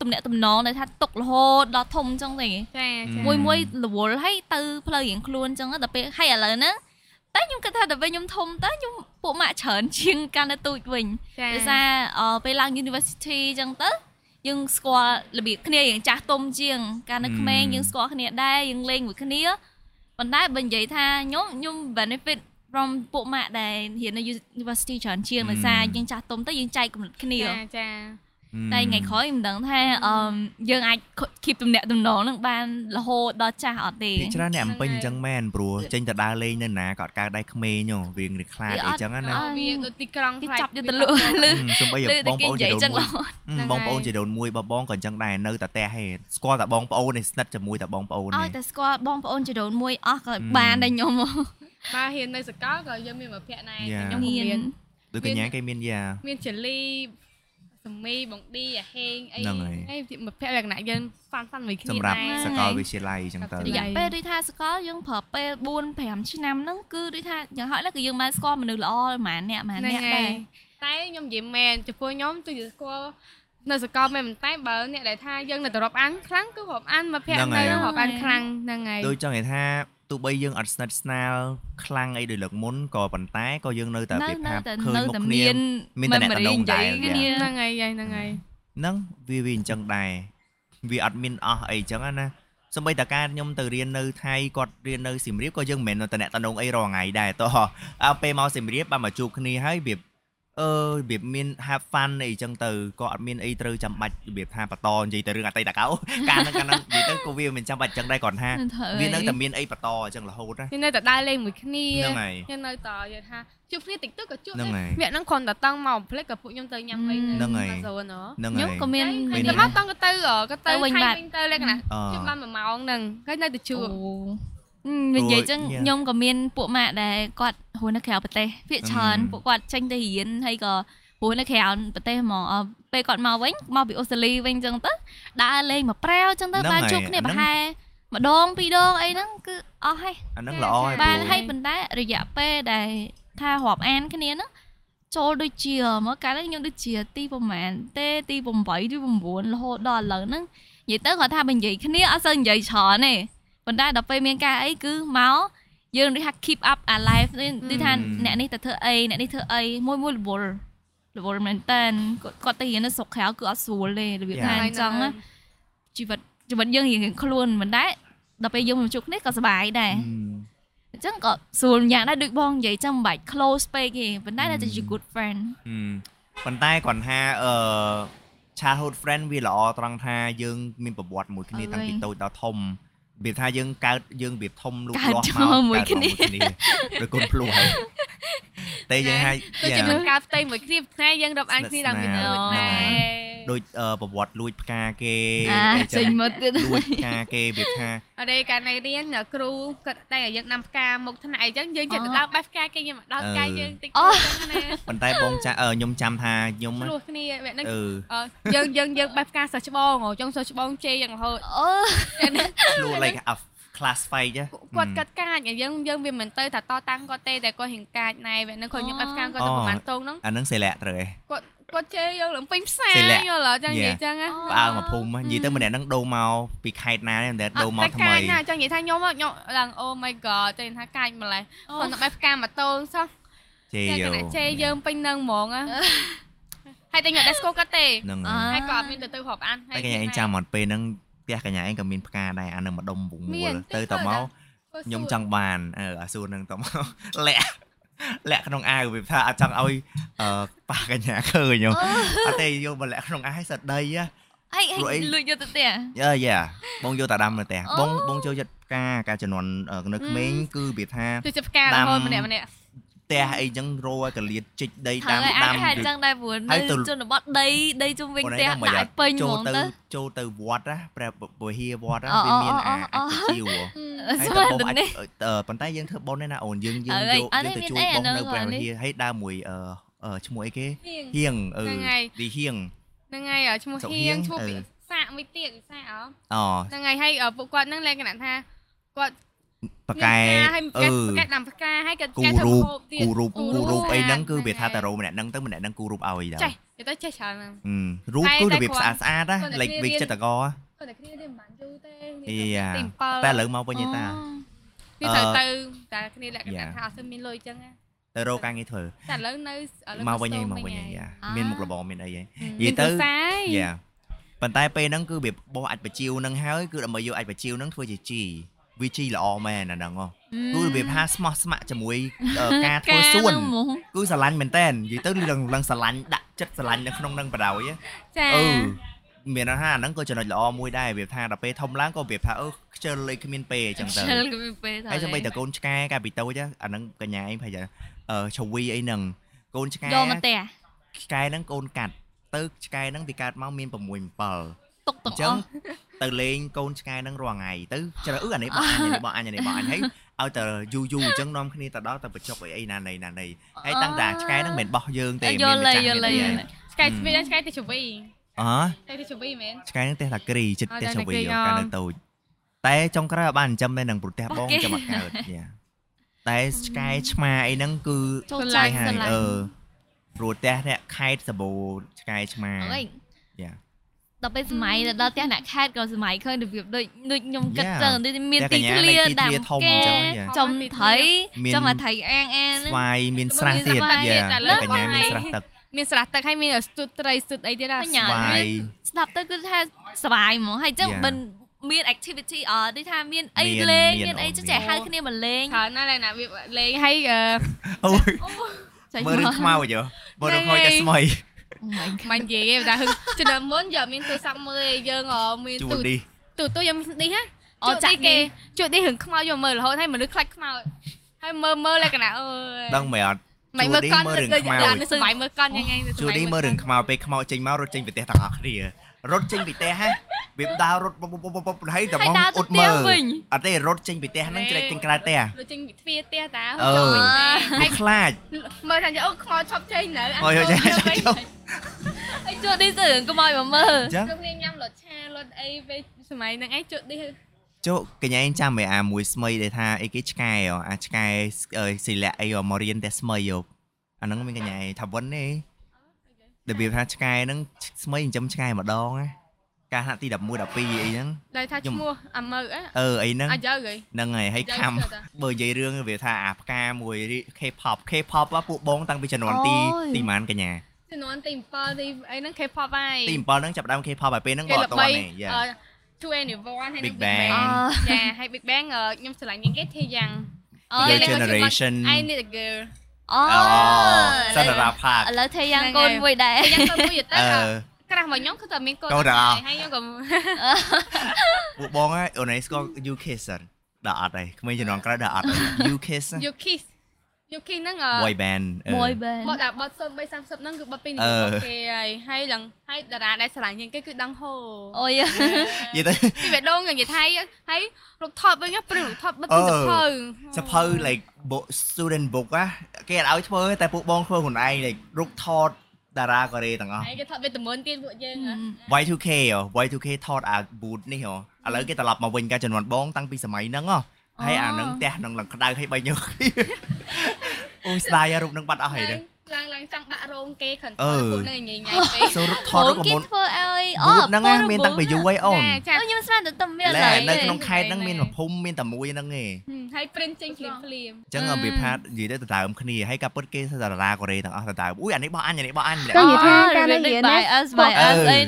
ទំនាក់ទំនងដែលថាຕົករហូតដល់ធំអញ្ចឹងទេ ចា ចា មួយមួយរវល់ហើយទៅផ្លូវរៀងខ្លួនអញ្ចឹងទៅដល់ពេលហើយឥឡូវហ្នឹងតែខ្ញុំគិតថាដល់ពេលខ្ញុំធំទៅខ្ញុំពួកម៉ាក់ច្រើនជាងកាន់តែទូចវិញ ចា ដោយសារអឺពេលឡើង university អញ្ចឹងទៅយើងស្គាល់របៀបគ្នារៀងចាស់ទុំជាងកាលនៅ អឺ ក្មេងយើងស្គាល់គ្នាដែរយើងលេងមួយគ្នាប៉ុន្តែបើនិយាយថាខ្ញុំខ្ញុំ benefit from ពួកម៉ាក់ដែលរៀននៅ university ច្រើនជាងដោយសារយើងចាស់ទុំទៅយើងចែកគំនិតគ្នា ចាចា តែថ្ងៃក្រោយមិនដឹងថាអឺមយើងអាច keep ទំនាក់ទំនងនឹងបានរហូតដល់ចាស់អត់ទេ ពីច្រើនអ្នកអំពេញ ហ្នឹងអហើយញ្ចឹងមែនព្រោះចេញទៅដើរលេងនៅណាក៏អត់កើតដែរក្មេងហ៎វារៀងខ្លាច វា អី អអត់ញ្ចឹងណា ណាវាដូចទីក្រុង គេ ខ្លាច ចាប់យកទៅ *laughs* លក់លឺ ហឹមសំបីតែ លឺបតែង គេ ប្អូន និ ជា យាយ ដូន ចឹង មួយ រហូត ហឹម ហ្នឹបងងហើយប្អូនជាដូនមួយបងបងក៏អញ្ចឹងដែរនៅតែតែហេស្គាល់តែបងប្អូននេះស្និទ្ធជាមួយតែបងប្អូន ឲ្យ នេះ តែស្គាល់បងប្អូនចរូនមួយអស់ក៏ អឺ បានដែរខ្ញុំហ បើរៀននៅសកលក៏យើងមានមិត្តភក្តិដែរ យ៉ា តែ ៎ ខ្ញុំក៏ មា មាន ន ដូចកញ្ញាគេមានយ៉ា មានចលីសមីបងឌីអាហេងអី ហ្នឹងហើយ ហើយជាមិត្តភក្តិលក្ខណៈយើងសាន់សាន់មួយគ្នា សម្រាប់ ដែរ សាកលវិទ្យាល័យអញ្ចឹងទៅ ក រយៈន្លែង ពេលដូចថាសកលយើងប្រើពេល4 5ឆ្នាំហ្នឹងគឺដូចថាយ៉ាងហោចណាស់គឺយើងបានស្គាល់មនុស្សល្អប្រហែលអ្នកប្រហែល ហ្នឹអ្នងក ហើ ដែរ យតែខ្ញុំនិយាយមែនចំពោះខ្ញុំទោះជាស្គាល់នៅសកលមែនប៉ុន្តែបើអ្នកដែលថាយើងនៅតែរាប់អានខ្លាំងគឺរាប់អានមកភ័ក្រ ហ្នឹងហើ នៅ យ រាប់អានខ្លាំងហ្នឹងហើយ ដូចចង់និយាយថាទោះបីយើងអត់ស្និទ្ធស្នាលខ្លាំងអីដូចលើកមុនក៏ប៉ុន្តែក៏យើងនៅតែពី នៅ ផាប់ តែ ឃើញ នៅ មុខ តែ គ្នា មាន មានតែអ្នកតំណងដែរ និយាយគ្នា ហ្នឹងហើយយាយហ្នឹងហើយ ហ្នឹងវាវាអញ្ចឹងដែរវាអត់មានអស់អីអញ្ចឹងណាសម្បីតការខ្ញុំទៅរៀននៅថៃគាត់រៀននៅសៀមរាបក៏យើងមិនមែនតែអ្នកតំណងអីរាល់ថ្ងៃដែរតោះអើពេលមកសៀមរាបបានមកជួបគ្នាហើយរបៀបអឺរបៀបមាន have fun អីអញ្ចឹងទៅក៏អត់មានអីត្រូវចាំបាច់របៀបថាបន្តនិយាយទៅរឿងអ *laughs* តីតកាលអូកាលហ្នឹងកាលហ្នឹងនិយាយទៅក៏វាមិនចាំបាច់អញ្ចឹងដែរគាត់ថា នឹងធ្វើ វានៅតែ អី មានអីបន្តអញ្ចឹងរហូតណា ខ្ញុំនៅតែដើរលេងមួយគ្នា ហ្នឹងហើយ ខ្ញុំនៅតយល់ថាជួបគ្នាតិចតួចក៏ជួប ហ្នឹងហើយ វាហ្នឹងគ្រាន់តែតង់មកផ្លេចក៏ពួកខ្ញុំទៅញ៉ាំអី ហ្នឹងហើយ នៅហ្សូនហ៎ ហ្នឹង ខ្ញុំ ហើយ ក៏មានមានឃើញតែមកតង់ក៏ទៅហ៎ក៏ទៅ ទៅវិញ ថៃ បាទ វិញទៅលក្ខណៈ អ ជួបបានមួយម៉ោងហ្នឹងហើយនៅតែជួប អឺនិយាយចឹង ព្រោះ ខ្ញុំក៏មានពួកម៉ាក់ដែលគាត់ហួរនៅក្រៅប្រទេសភាគច្រើន អឺ ពួកគាត់ចេញទៅរៀនហើយក៏ព្រោះនៅក្រៅប្រទេសហ្មងអ่ะពេលគាត់មកវិញមកពីអូស្ត្រាលីវិញចឹងទៅដើរលេងមកប្រាវចឹងទៅ ហ្នឹង បាន ហើយ ជួបគ្នា អាហ្នឹង ប្រហែលម្ដងពីរដងអីហ្នឹងគឺអស់ហើយ អាហ្នឹងល្អហើយ ចា បាន ព្រោះ ហើយប៉ុន្តែរយៈពេលដែលថារាប់អានគ្នាហ្នឹងចូលដូចជាមកកាលហ្នឹងខ្ញុំដូចជាទីប្រហែលទេទី8ទី9រហូតដល់ឥឡូវហ្នឹងនិយាយទៅគាត់ថាបើនិយាយគ្នាអត់សូវនិយាយច្រើនទេ ប៉ុន្តែដល់ពេលមានការអីគឺមកយើងដូចថា keep up our life ដូចដូចថា អឺ អ្នកនេះទៅធ្វើអីអ្នកនេះធ្វើអីមួយមួយរវល់រវល់មែនតើគាត់គាត់ទៅរៀននៅស្រុកក្រៅគឺអត់ស្រួលទេរបៀបថាអញ្ចឹងណាជីវិតជីវិតយើងរៀងៗខ្លួនមិនដែរដល់ពេលយើងមកជួបគ្នាក៏សប្បាយដែរ អឺ អញ្ចឹងក៏ស្រួលយ៉ាងដែរដូចបងនិយាយចាំមិនបាច់ close ពេកទេប៉ុន្តែតែ អឺ ជា good friend ហឹមប៉ុន្តែគាត់ថាអឺ childhood friend វាល្អត្រង់ថាយើងមានប្រវត្តិមួយគ្នា អើយ តាំងពីតូចដល់ធំរបៀបថាយើងកើតយើងរបៀបធំលូត កើត លាស់ ចូល មក មួយ កើត គ្នា ដោយគុណភ្លោះហើយតែយើងថា ដូចជា យ៉ា នឹងការផ្ទៃមួយគ្នាថ្ងៃយើងរាប់អានគ្នាដល់ពី ស្និទ្ធស្នាលទៅដែរ ដូចអឺប្រវត្តិលួចផ្កាគេ អា អី ចេ ចឹ ញ ង មកទៀត លួចផ្កាគេរបៀបថា អរេកាលនៅរៀនគ្រូគាត់តែឲ្យយើងដាំផ្កាមុខថ្នាក់អីចឹងយើងចេះ អូ ទៅដើរបែបផ្កាគេយើងមកដល់ អឺ ផ្កាយើងតិច អូ ចឹងណា ប៉ុន្តែបងចាអឺខ្ញុំចាំថាខ្ញុំ ព្រោះគ្នាវាហ្នឹង អឺ អឺយើងយើងយើងបែបផ្កាសោះច្បងហ៎ចង់សោះច្បងជេរយ៉ាងរហូត អូ លួច like a class fight ចា គាត់កាត់កាចយើងយើងវាមិនទៅថាតតាំងគាត់ទេតែគាត់ហិងកាចណែវាហ្នឹងគាត់យើងបែបផ្កាគាត់ទៅ អូ ប្រហែលតោងហ្នឹង អាហ្នឹងសេលាក់ត្រូវឯង គាត់គាត់ជេរយើងឡើងពេញផ្សា សេ យ លា យ ក់ ល់ហ៎ចឹងនិយាយ Yeah. ចឹងណា ផ្អើលមកភូមិហ្នឹងនិយាយទៅម្នាក់ហ្នឹងដូរមកពីខេត្តណានេះម្នាក់ដូរមកថ្មី តែកាចណាចង់និយាយថាខ្ញុំមកខ្ញុំឡើង Oh my god តែថាកាចម្លេះគាត់ទៅបែបផ្កាម៉ូតូសោះ ជេ តែគ យោ ណៈជេរយើងពេញនឹងហ្មងហ៎ហើយតែខ្ញុំអត់ដែរស្គាល់គាត់ទេ ហ្នឹងហើយ ហើយក៏អត់មានទៅទៅហប់អានហើ តែកញ្ញាឯងចាំមកពេលហ្នឹងផ្ទះកញ្ញាឯងក៏មានផ្កាដែរអានឹងមកដុំវងមូលទៅតមកខ្ញុំចង់បានអឺអាសួរនឹងត *laughs* មកលាក់លាក់ក្នុងអាវវាថាអត់ចង់ឲ្យអឺប៉ះក *laughs* ញ្ញាឃើញហ៎អត់ទេយកមកលាក់ក្នុងអាវឲ្យសត្វដីហ៎ អីអ លួចអី ីលួចយកទៅទៀត យ៉ាយ៉ាបងយកតាដាំនៅផ្ទះ អូ បងបងចូលចិត្តផ្កាការចំនួននៅក្មេងគឺវាថា ទៅចាប់ផ្ការ ដាំ រហូតម្នាក់ម្នាក់ ទ ទះអីចឹងរោឲ្យកលៀតចិច្ចដី ហើ ដាំ យ ដាំ អាចហេតុចឹងដែរព្រោះ ហើ នៅ យទៅ ជនបទដីដីជុំវិញផ្ទះ ហ្នឹង ដាក់ឲ្យពេញហ្ម ចូល ង ទៅ ទៅ ចូលទៅវត្តណាព្រះពហិវត្តណា អូ វាមាន អូ អា អូ អាចាជីវហ៎ ស្ ហើយតើបងអាចអឺមើដល់នេះប៉ុន្តែយើងធ្វើប៉ុនទេណាអូនយើងយើង អើយយក អត់ យើងទៅទេមាន ជួយ អី បងនៅអានោះ ព្រះវិ នេះ ហារហើយដើរមួយអឺអឺឈ្មោះអីគេ ហៀង ហៀងអឺ ហ្នឹងហើយ ទីហៀង ហ្នឹងហើយអឺឈ្មោះ សុខហៀ ហៀ ង ងឈ្មោះ អឺ ពិសាកមួយទៀតពិសាកអោ អូ ហ្នឹងហើយហើយអឺពួកគាត់ហ្នឹងលក្ខណៈថាគាត់ ប៉ាកែ មានអឺផ្កាហើយផ្កាផ្កាដាំផ្កាហើយគាត់ គូ ផ្កាធ្វើ រូប ម្ហូបទៀត គូរូប គូ គូ រូ រូប ប អីហ្នឹងគឺ ហ្នឹង វាថា ហើ តា យ រោម្នាក់ហ្នឹងទៅម្នាក់ហ្នឹងគូរូបឲ្យដែរ ចេះនិយាយទៅចេះច្រើនណាស់ ហឹមរូប តែ គឺរតែបៀប គាត់ ស្អាតស្អាតណា គាត់លេចវិតែគ្នារៀន ចិត្រករ គាត់តែគ្នារៀនមិនបានយូរទេ អី រៀ យ៉ា នទៅ តែឥ 7 ឡូវមកវិញឯតា វាត្រូវទៅតែគ្នាលក្ខណៈថាអត់ស្មានលុយអញ្ចឹងណា ទៅរកការងារធ្វើ តែឥឡូវនៅឥឡូវ មកវិញ នៅ ឯង ស្ទូ មកវិញឯង ហ យ៉ា អា មានមុខរបរមានអីឯង ៎ និយាយទៅ មានគ្រួសារឯង យ៉ាប៉ុន្តែពេលហ្នឹងគឺវាបោះអាចបជាវហ្នឹងហើយគឺដើម្បីយកអាចបជាវហ្នឹងធ្វើជាជីវាជីល្អមែនអាហ្នឹងហ៎ គឺរបៀបថាស្មោះស្ម័គ្រជាមួយអឺ ការធ្វើសួនគឺស្រឡាញ់មែនតែននិយាយទៅរឿងឡើងស្រឡាញ់ដាក់ចិត្តស្រឡាញ់នៅក្នុងនឹងបដ ாய் ចា អឺមានន័យថាអាហ្នឹងក៏ចំណុចល្អមួយដែររបៀបថាដល់ពេលធំឡើងក៏របៀបថាអឺខ្ជិលលេខគ្មានពេលអញ្ចឹងទៅ ឆ្លគឺពេល ហើយចាំបីតកូនឆ្កែកាលពីតូចណាអាហ្នឹងកញ្ញាឯងប្រហែលអឺឈវីអីហ្នឹងកូនឆ្កែ យកមកផ្ទះ ឆ្កែហ្នឹងកូនកាត់ទៅឆ្កែហ្នឹងវាកើតមកមាន6 7 ទុក អ ទាំង ញ្ចឹ អ ង ស់ ទៅលេងកូនឆ្កែហ្នឹងរាល់ថ្ងៃទៅជ្រើអឺអានេះបងអញអានេះបងអញអានេះបងអញហើយឲ្យតែយូរយូរអញ្ចឹងនាំគ្នាទៅដល់ទៅបញ្ចុកអីអីណានៃណានៃហើយតាំងតាឆ្កែហ្នឹងមិនបោះយើងទេ យល់ហើយយល់ហើយយល់ហើយ ឆ្កែស្វីឆ្កែទៅជវី អ តែទៅជវីមែន ឆ្កែហ្នឹងទេតាគ្រីចិត្ត អ่า ទេ តែ ចវី តែគ្រី យកកាល អ่า នៅតូចតែចុងក្រោយឲ្យបានចិញ្ចឹមតែនឹងប្រទេសបង បោះគេ ចាំមកកើតយ៉ាតែឆ្កែឆ្មាអីហ្នឹងគឺ ចូល ឆ្ល ចា ង ញ់ស្រឡាញ់ អឺព្រោះផ្ទះអ្នកខេតសាបូឆ្កែឆ្មា អើយ Yeah. ដល់ពេលសម័យដល់ផ្ទះអ្នកខេតក៏សម័យឃើញរបៀបដូចដូចខ្ញុំគិត Yeah. ចឹងដូចមាន ផ្ទះក ទី ញ្ញា ធ្លា នៅទីធ្លា ដាំ ធំ គេ អញ្ចឹងហ្នឹង ចំថៃ មាន ចំអាថៃអាងអាងហ្នឹងស្វាយមានស្រះ មាន ទៀត ស្វាយ យ៉ា ទៀតឥឡូវ កញ្ញាមាន បងឯង ស្រះទឹក មានស្រះទឹកហើយមានស្ទូតត្រីស្ទូតអីទៀតណា បញ្ញា ស្វាយ ស្ដាប់ទៅគឺថាសប្បាយហ្មងហើយចឹង Yeah. មិនមាន activity អត់ដូចថាមានអី មាន លេង មាន មានអី អូន ចេះ មាន ចេះហៅគ្នាមកលេង ច្រើនណាស់ឡើយណាវាលេងហើយអឺ អូយ ចេះ *laughs* មើលរឿងខ្មៅយោមើលរឿងខ្មៅតែស្មុយ *laughs* មិននិយាយទេតែហឹងជំនាន់មុនយកមានទូរស័ព្ទមើលឯងយើងអមាន ជួ ទូ ន រ នេះ ទូរទូរយកនេះណា អូចាក់គេ ជួយនេះរឿងខ្មៅយកមើលរហូតហើយមនុស្សខ្លាច់ខ្មៅហើយមើលមើលលក្ខណៈអើយ ដឹងមិនអត់ មិនមើលកន់ ជួនទៅនេះ គឺ មើលរឿងខ្មៅ យ៉ាងស្វាយមើលកន់យ៉ាងไง ជួននេះមើលរឿងខ្មៅពេលខ្មៅចេញមករត់ចេញប្រទេសទាំងអស់គ្នារត់ចេញប្រទេសហ่ะវាដើររត់បុបបុបបុបហើយតែ ហើយ បង ដើរ អ៊ុតទៅផ្ទះ មើល វិញ អត់ទេរត់ចេញប្រទេសហ្នឹងជ្រែកចេញក្រៅ *laughs* ផ្ទះ ដូចចេញវិទ្យាទេតា អឺ ហើ វា យ ខ្លា *laughs* ច មើលថាអូខ្មៅឈប់ចេញនៅ អើយចេះចូល ហើយជួឌីទៅរឿងកុំឲ្យមកមើល អញ្ចឹង គឺគ្នាញ៉ាំលុតឆាលុតអីពេលសម័យហ្នឹងឯងជួយនេះ ចូលកញ្ញាឯងចាំមើលអាមួយស្មីដែលថាអីគេឆ្កែហ៎អាឆ្កែអឺសិលាអីហ៎មករៀនតែស្មីយោអាហ្នឹងមានកញ្ញាឯងថាវិនទេរបៀបថាឆ្កែហ្នឹងស្មីចិញ្ចឹមឆ្កែម្ដងណាកាលហាក់ទី11 12អីហ្នឹង ដែលថា ខ្ញុំ ឈ្មោះអាមើអ អឺអីហ្នឹង អាយើហី ហ្នឹងហើយហើយខំបើនិយាយរឿងវាថាអាផ្កាមួយ K-pop K-pop ហ៎ពួកបងតាំងពីជំនាន់ទី អូយ ទីម៉ានកញ្ញា ជំនាន់ទី7ទីអីហ្នឹង K-pop ហើយ ទី7ហ្នឹងចាប់ផ្ដើម K-pop ហើយពេលហ្នឹង គេ បងអត់តល្បី ទេយ៉ា អឺ21ហើយ Big នឹង Bang អ *laughs* ចាហើយ Big Bang អឺខ្ញុំស្រឡាញ់ជាងគេធីយ៉ាង អូ យើ យ ង Big Bang ក៏ជា Generation I need a girl អូ អូសន្តារាផាក ឥឡូវធ្វើយ៉ាងកូនមួយដែរ យ៉ាងទៅមួយទៅ *laughs* អឺ ក្រាស់មកខ្ញុំគឺតែមានកូន កូនទាំងអស់ ហើយខ្ញុំក៏ ពួកបងហ្នឹងអូនឯងស្គាល់ UK សិនដល់អត់ហើយក្មេងជំនាន់ក្រោយដល់អត់ហើយ *laughs* UK សិន You kiss You kiss ហ្នឹងអឺ boy band អឺ មួយបែ បត់ដល់បត់03 30ហ្នឹងគឺបត់ពីនិ អឺ យាយគេហើយហើយឡើងហើយតារាដែលស្រឡាញ់ជាងគេគឺដងហូ អូយ និយាយទៅ *laughs* ពីបេះដូងនិយាយថៃហើយរូបថតវិញណាព្រឹងរូបថតបិទពី អឺ សភៅ សភៅ like book student book ណាគេអត់ឲ្យធ្វើទេតែពួកបងធ្វើខ្លួនឯង like រុកថតតារាកូរ៉េទាំងអស់ ហើយគេថតវេទមន្តទៀតពួកយើងហ៎ Y2K ហ៎ Y2K ថតអា boot នេះហ៎ឥឡូវគេត្រឡប់មកវិញការជំនាន់បងតាំងពីសម័យហ្នឹងហ៎ហើយអាហ្នឹងផ្ទះហ្នឹងឡើងក្តៅហើយបីញើស *laughs* អូយស្ដាយហ៎រូបហ្នឹងបាត់អស់ហើយ ឡើង នេះ ឡើងឡើងចង់ដាក់រោងគេខន អឺ ពួកនឹងញ៉ៃញ៉ៃពេក សូមរូ *laughs* បថ អូ តរូបនក គេ មុន ធ្វើឲ្យអូ boot ហ្នឹងណាមានតាំងពីយូរហើយអូន ចាចា *laughs* អូខ្ញុំស្មានតែតំមាន ឡែ ឡើយ នៅក្នុងខេត្តហ្នឹងមានភូមិមានតែមួយហ្នឹងឯង ហឹមហើយ print ចេញភ្លាមភ្លាម អញ្ចឹងរបៀបថានិយាយទៅដដើមគ្នាហើយការពិតគេសរតារាកូរ៉េទាំងអស់ដដើមអូយអានេះបោះអញអានេះបោះអញម្នាក់ និយាយថាការនិយាយណា អឺ bias អីហ្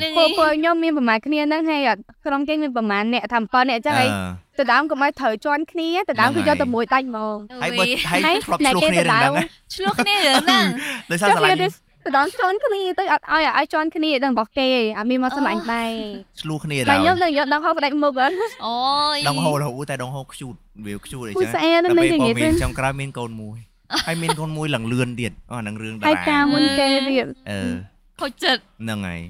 នឹង ពួកពួកខ្ញុំមានប្រមាណគ្នាហ្នឹងហើយអត់ក្រុមគេមានប្រមាណអ្នកថា7អ្នកអញ្ចឹងហើយតដើមកុំឲ្យត្រូវជន់គ្នាតដើមគឺ ហ្នឹងហើយ យកតែមួយដាច់ហ្មង ហើយបើហើយធ្លាប់ឆ្លោះគ្នារឿងហ្នឹងណា ឆ្លោះចុះគ្នាទៅ *laughs* ដោយសារស្រឡាញ់គ្នារឿងហ្នឹងតដើមជន់គ្នាទៅអត់ឲ្យឲ្យជន់គ្នាដឹងរបស់គេអត់មានមកសម្លាញ់ដែរ ឆ្លោះគ្នា តែ ដល់ ខ្ញុំនឹងយកដងហោបដាច់មុខហ្នឹង អូយ ដងហូរហូរតែដងហូរខ្ជូតវាខ្ជូតអី ពូ ចឹង ស្អែន តែ នឹង ពេល និ បង យាយ មា ទៅ នចុងក្រោយមានកូនមួយ ហើយមានកូនមួយឡើងលឿនទៀតអូអាហ្នឹងរឿងតា ហើយ រា ការមុនគេរៀប អឺ ខូចចិត្ត ហ្នឹងហើយ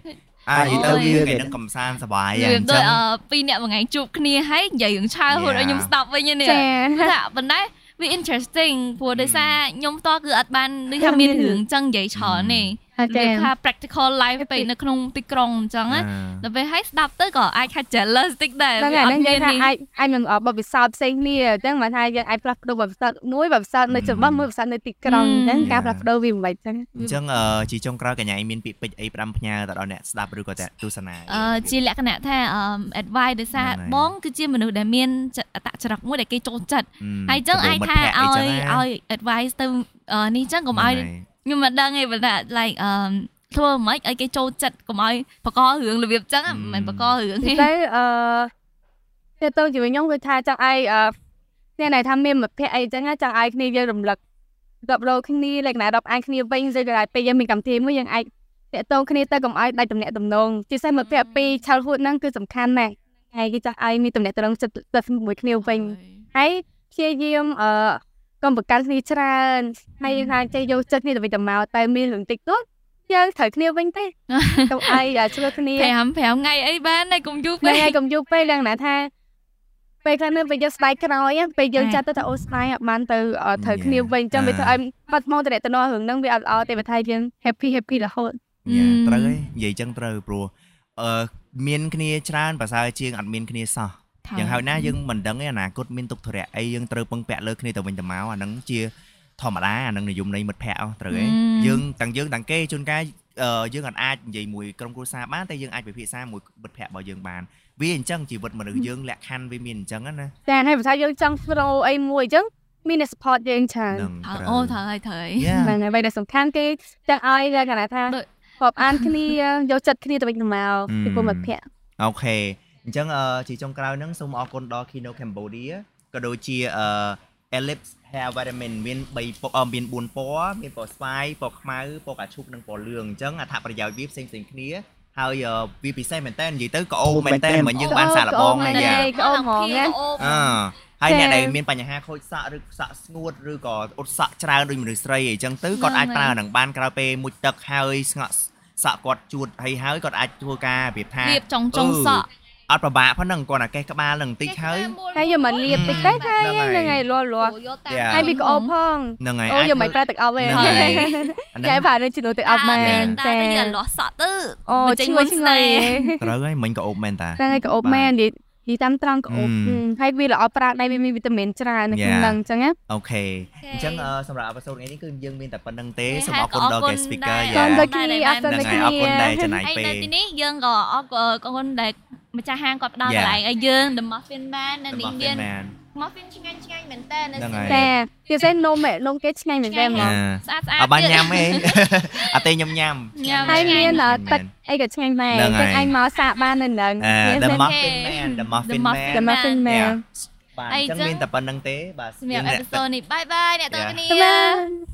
អាយទៅវាគេនឹងកំសាន្តសប្បាយអ រឿងដូចញ្ចឹង អឺពីរអ្នកមួយថ្ងៃជួបគ្នាហើយនិយាយរឿងឆើហូតឲ្យខ្ញុំ Yeah. ស្ដាប់វិញហ្នឹងនេះ ចា ថាប៉ុន្តែវា interesting ព្រោះដោយសារខ្ញុំផ្ទាល់គឺអត់បានដូចថាមានរឿងចឹងនិយាយច្រើនទេ អា និ ចា យាយរ្យ ថា practical life ពេកនៅក្នុងទីក្រុងអញ្ចឹងណាដល់ពេលឲ្យស្ដាប់ទៅក៏អាចថា jealous តិចដែរ ហ្នឹង វា ហើយ អ ហ្នឹត់ងនិយា មា យ ន ថា នេះ អាចអាចមិនល្អបទពិសោធន៍ផ្សេងគ្នាអញ្ចឹងមកថាយើងអាចផ្លាស់ប្ដូរបទពិសោធន៍មួយបទពិសោធន៍នៅចំបោះមួយបទពិសោធន៍នៅទីក្រុងអញ្ចឹង យ៉ា ការផ្លាស់ប្ដូរវាមិនបែបចឹង អញ្ចឹងអឺជាចុងក្រោយកញ្ញាឯងមានពាក្យពេចន៍អីផ្ដាំផ្ញើទៅដល់អ្នកស្ដាប់ឬក៏អ្នកទស្សនា អឺជាលក្ខណៈថាអឺ advice ដោយសារ ហ្នឹងហើយ បងគឺជាមនុស្សដែលមានចអតចរិតមួយដែលគេចូលចិត្តហើយអញ្ចឹងអាចថាឲ្យឲ្យ advice ទៅអឺនេះអញ្ចឹងកុំឲ្យខ្ញុំមិនដឹងទេប៉ុន្តែ like អឺធ្វើមិនឲ្យគេចូលចិត្តកុំឲ្យបករឿងរបៀបអញ្ចឹងហ៎មិនមែនបករឿងទេ *laughs* ទៅអឺទៅជាមួយខ្ញុំគឺថាចង់ឲ្យអឺអ្នកណែថាមានមិត្តភក្តិអីចឹងណាចង់ឲ្យគ្នាយើងរំលឹករອບរោគ្នាលក្ខណៈរອບអានគ្នាវិញដូចតែពេលយើងមានកម្មវិធីមួយយើងអាចតាក់ទងគ្នាទៅកុំឲ្យដាច់ទំនាក់ទំនងជាពិសេសមិត្តភក្តិពីរឆាល់ហួតហ្នឹងគឺសំខាន់ណាស់ហើយគេចាស់ឲ្យមានទំនាក់ទំនងចិត្តស្និទ្ធជាមួយគ្នាវិញហើយព្យាយាមអឺកុំប្រកាន់គ្នាច្រើនហើយយើងថាចេះយកចិត្តគ្នាទៅវិញទៅមកតែមានរឿងតិចតួចយើងត្រូវគ្នាវិញទេកុំឲ្យជួយគ្នា *laughs* 5 5ថ្ងៃអី *laughs* បានហើយកុំយូរពេ ថ្ងៃ ក ឯងកុំយូរពេកឡើងណាថាពេលខ្លះនឹងពេលយើងស្ដាយក្រោយហ្នឹងពេលយើង អ่ะ ចាត់ទៅថាអូស្ដាយអត់បានទៅអ่ะត្រូវ Yeah. គ្នាវិញអញ្ចឹងវា អ่ะ ធ្វើឲ្យបាត់ថ្មងតរតនរឿងហ្នឹងវាអត់ល្អទេបើថាយើង happy happy រហូត ញ៉ា ម ត្រូវហើយនិយាយចឹងត្រូវព្រោះអឺមានគ្នាច្រើនប្រសើរជាងអត់មានគ្នាសោះយ៉ាងហើយណាយើងមិនដឹងទេអនាគតមានទុកធុរៈអីយើងត្រូវពឹងពាក់លើគ្នាទៅវិញទៅមកអាហ្នឹងជាធម្មតាអាហ្នឹងនិយមន័យមិត្តភក្តិអស់ត្រូវទេ ម យើងទាំងយើងទាំងគេជួនកាលអឺយើងអត់អាចនិយាយមួយក្រុមគ្រួសារបានតែយើងអាចពិភាក្សាមួយមិត្តភក្តិរបស់យើងបានវាអញ្ចឹងជីវិតមនុស្សយើងលក្ខខណ្ឌវាមានអញ្ចឹងណា ចាហើយបើថាយើងចង់ throw អីមួយអញ្ចឹងមានអ្នក support យើងច្រើន ហ្នឹង អើ ត្រូវ អូត្រូវហើយត្រូវហើយ៉ាយហ្នឹងហើយអ្វីដែលសំខាន់គេចង់ឲ្យលក្ខណៈថា ដូច ពបអានគ្នាយកចិត្តគ្នាទៅវិញទៅមក อืม ពីពុំមិត្តភក្តិ អូខេអញ្ចឹងអឺជាចុងក្រោយហ្នឹងសូមអរគុណដល់ Kino Cambodia ក៏ដូចជាអឺ Ellipse Hair Vitamin មាន3ពណ៌អឺមាន4ពណ៌មានពណ៌ស្វាយពណ៌ខ្មៅពណ៌កាឈូកនិងពណ៌លឿងអញ្ចឹងអត្ថប្រយោជន៍វាផ្សេងៗគ្នាហើយអឺវាពិសេសមែនតើនិយាយទៅក៏អូមែនតើមិនយើងបានសារល្បងណាអូមែន យ៉ា ទេ អូហ្មងណា អឺហើយអ្នចា៎កដែលមានបញ្ហាខូចសក់ឬសក់ស្ងួតឬក៏អ៊ុតសក់ច្រើនដូចមនុស្សស្រីអីចឹងទៅគាត់អាចប្រើអាហ្នឹងបានក្រោយពេលមុជទឹកហើយស្ងក់សក់គាត់ជូតហើយហើយគាត់អាចធ្វើការរបៀបថា រៀបចុងចុងសក់ អត់ប្របាកផងហ្នឹងគាត់អាកេះក្បាលហ្នឹងបន្តិចហើយ ហើយយើងមិនលៀបតិចទេថា ហ្នឹងហើយ ហ្នឹងហើយលាស់លាស់ ចា៎ ហើយវាក្អោបផង ហ្នឹងហើយ អូ អាច យើងមិនប្រើទឹកអប់ទេហ្នឹ *laughs* ងហើយ ចា អា ចា ហ្នឹង ប្រើនឹងជំនួសទឹកអប់មែន តែ ចា យើងលាស់សក់ទៅ អូ មិនចេញមុឈ្ងុយន ឈ្ងុ ស្នេ យ ហ៍ ត្រូវហើយមិញក៏អូបមែនតា *laughs* ហ្នឹងហើយក្អូប បាទ មែននិយាយនិយាយតាមត្រង់ក្អូប អឺ ហឹមហើយវាល្អប្រើដៃវាមានវីតាមីនច្រើននៅក្នុង Yeah. ហ្នឹងអញ្ចឹងណា អូខេអអូខេញ្ចឹងអឺសម្រាប់អេពីសូតថ្ងៃនេះគឺយើងមានតែប៉ុណ្្នឹងទេ ទេ សូមអរគុណដល់ guest speaker អរគុណ យ៉ា ដែរ ហ្នឹ ដល់ ង guest ហើយអរគុណដែលចំណាយ ហើយ ពេល នៅទីនេះយើងក៏អរគុណដែលម្ចាស់ហាងគាត់ផ្ដល់ក Yeah. ន្លែងឲ្យយើង The Muffin Man នៅ របស់ Indian Fan Man Muffin ឆ្ងាញ់ឆ្ងាញ់មែនតើនៅ ហ្នឹងហើយ តែជាសេះនំឯងនំគេឆ្ងាញ់មែនទេហ្ម អ ង ស្អាតស្អា ាអ ត ត់បានញ៉ាំទេ អត់ទេខ្ញុំញ៉ាំ ញ៉ាំ ហើយមានអ่ะ ឆ្ងាញ់ ទឹកអីក៏ឆ្ងាញ់ដែរ ហ្នឹងហើយ ចឹងអាចមកសាកបាននៅហ្នឹង អឺ The តែ Muffin Man The Muffin Man តែ The មក Man វិញមែ Yeah ន បាទ ហើយ អញ្ចឹង អញ្ចឹង មានតែប៉ុណ្្នឹងទេបាទ សម្រាប់ យើង episode នេះបាយបាយអ្នកទាំងគ្នា បាទ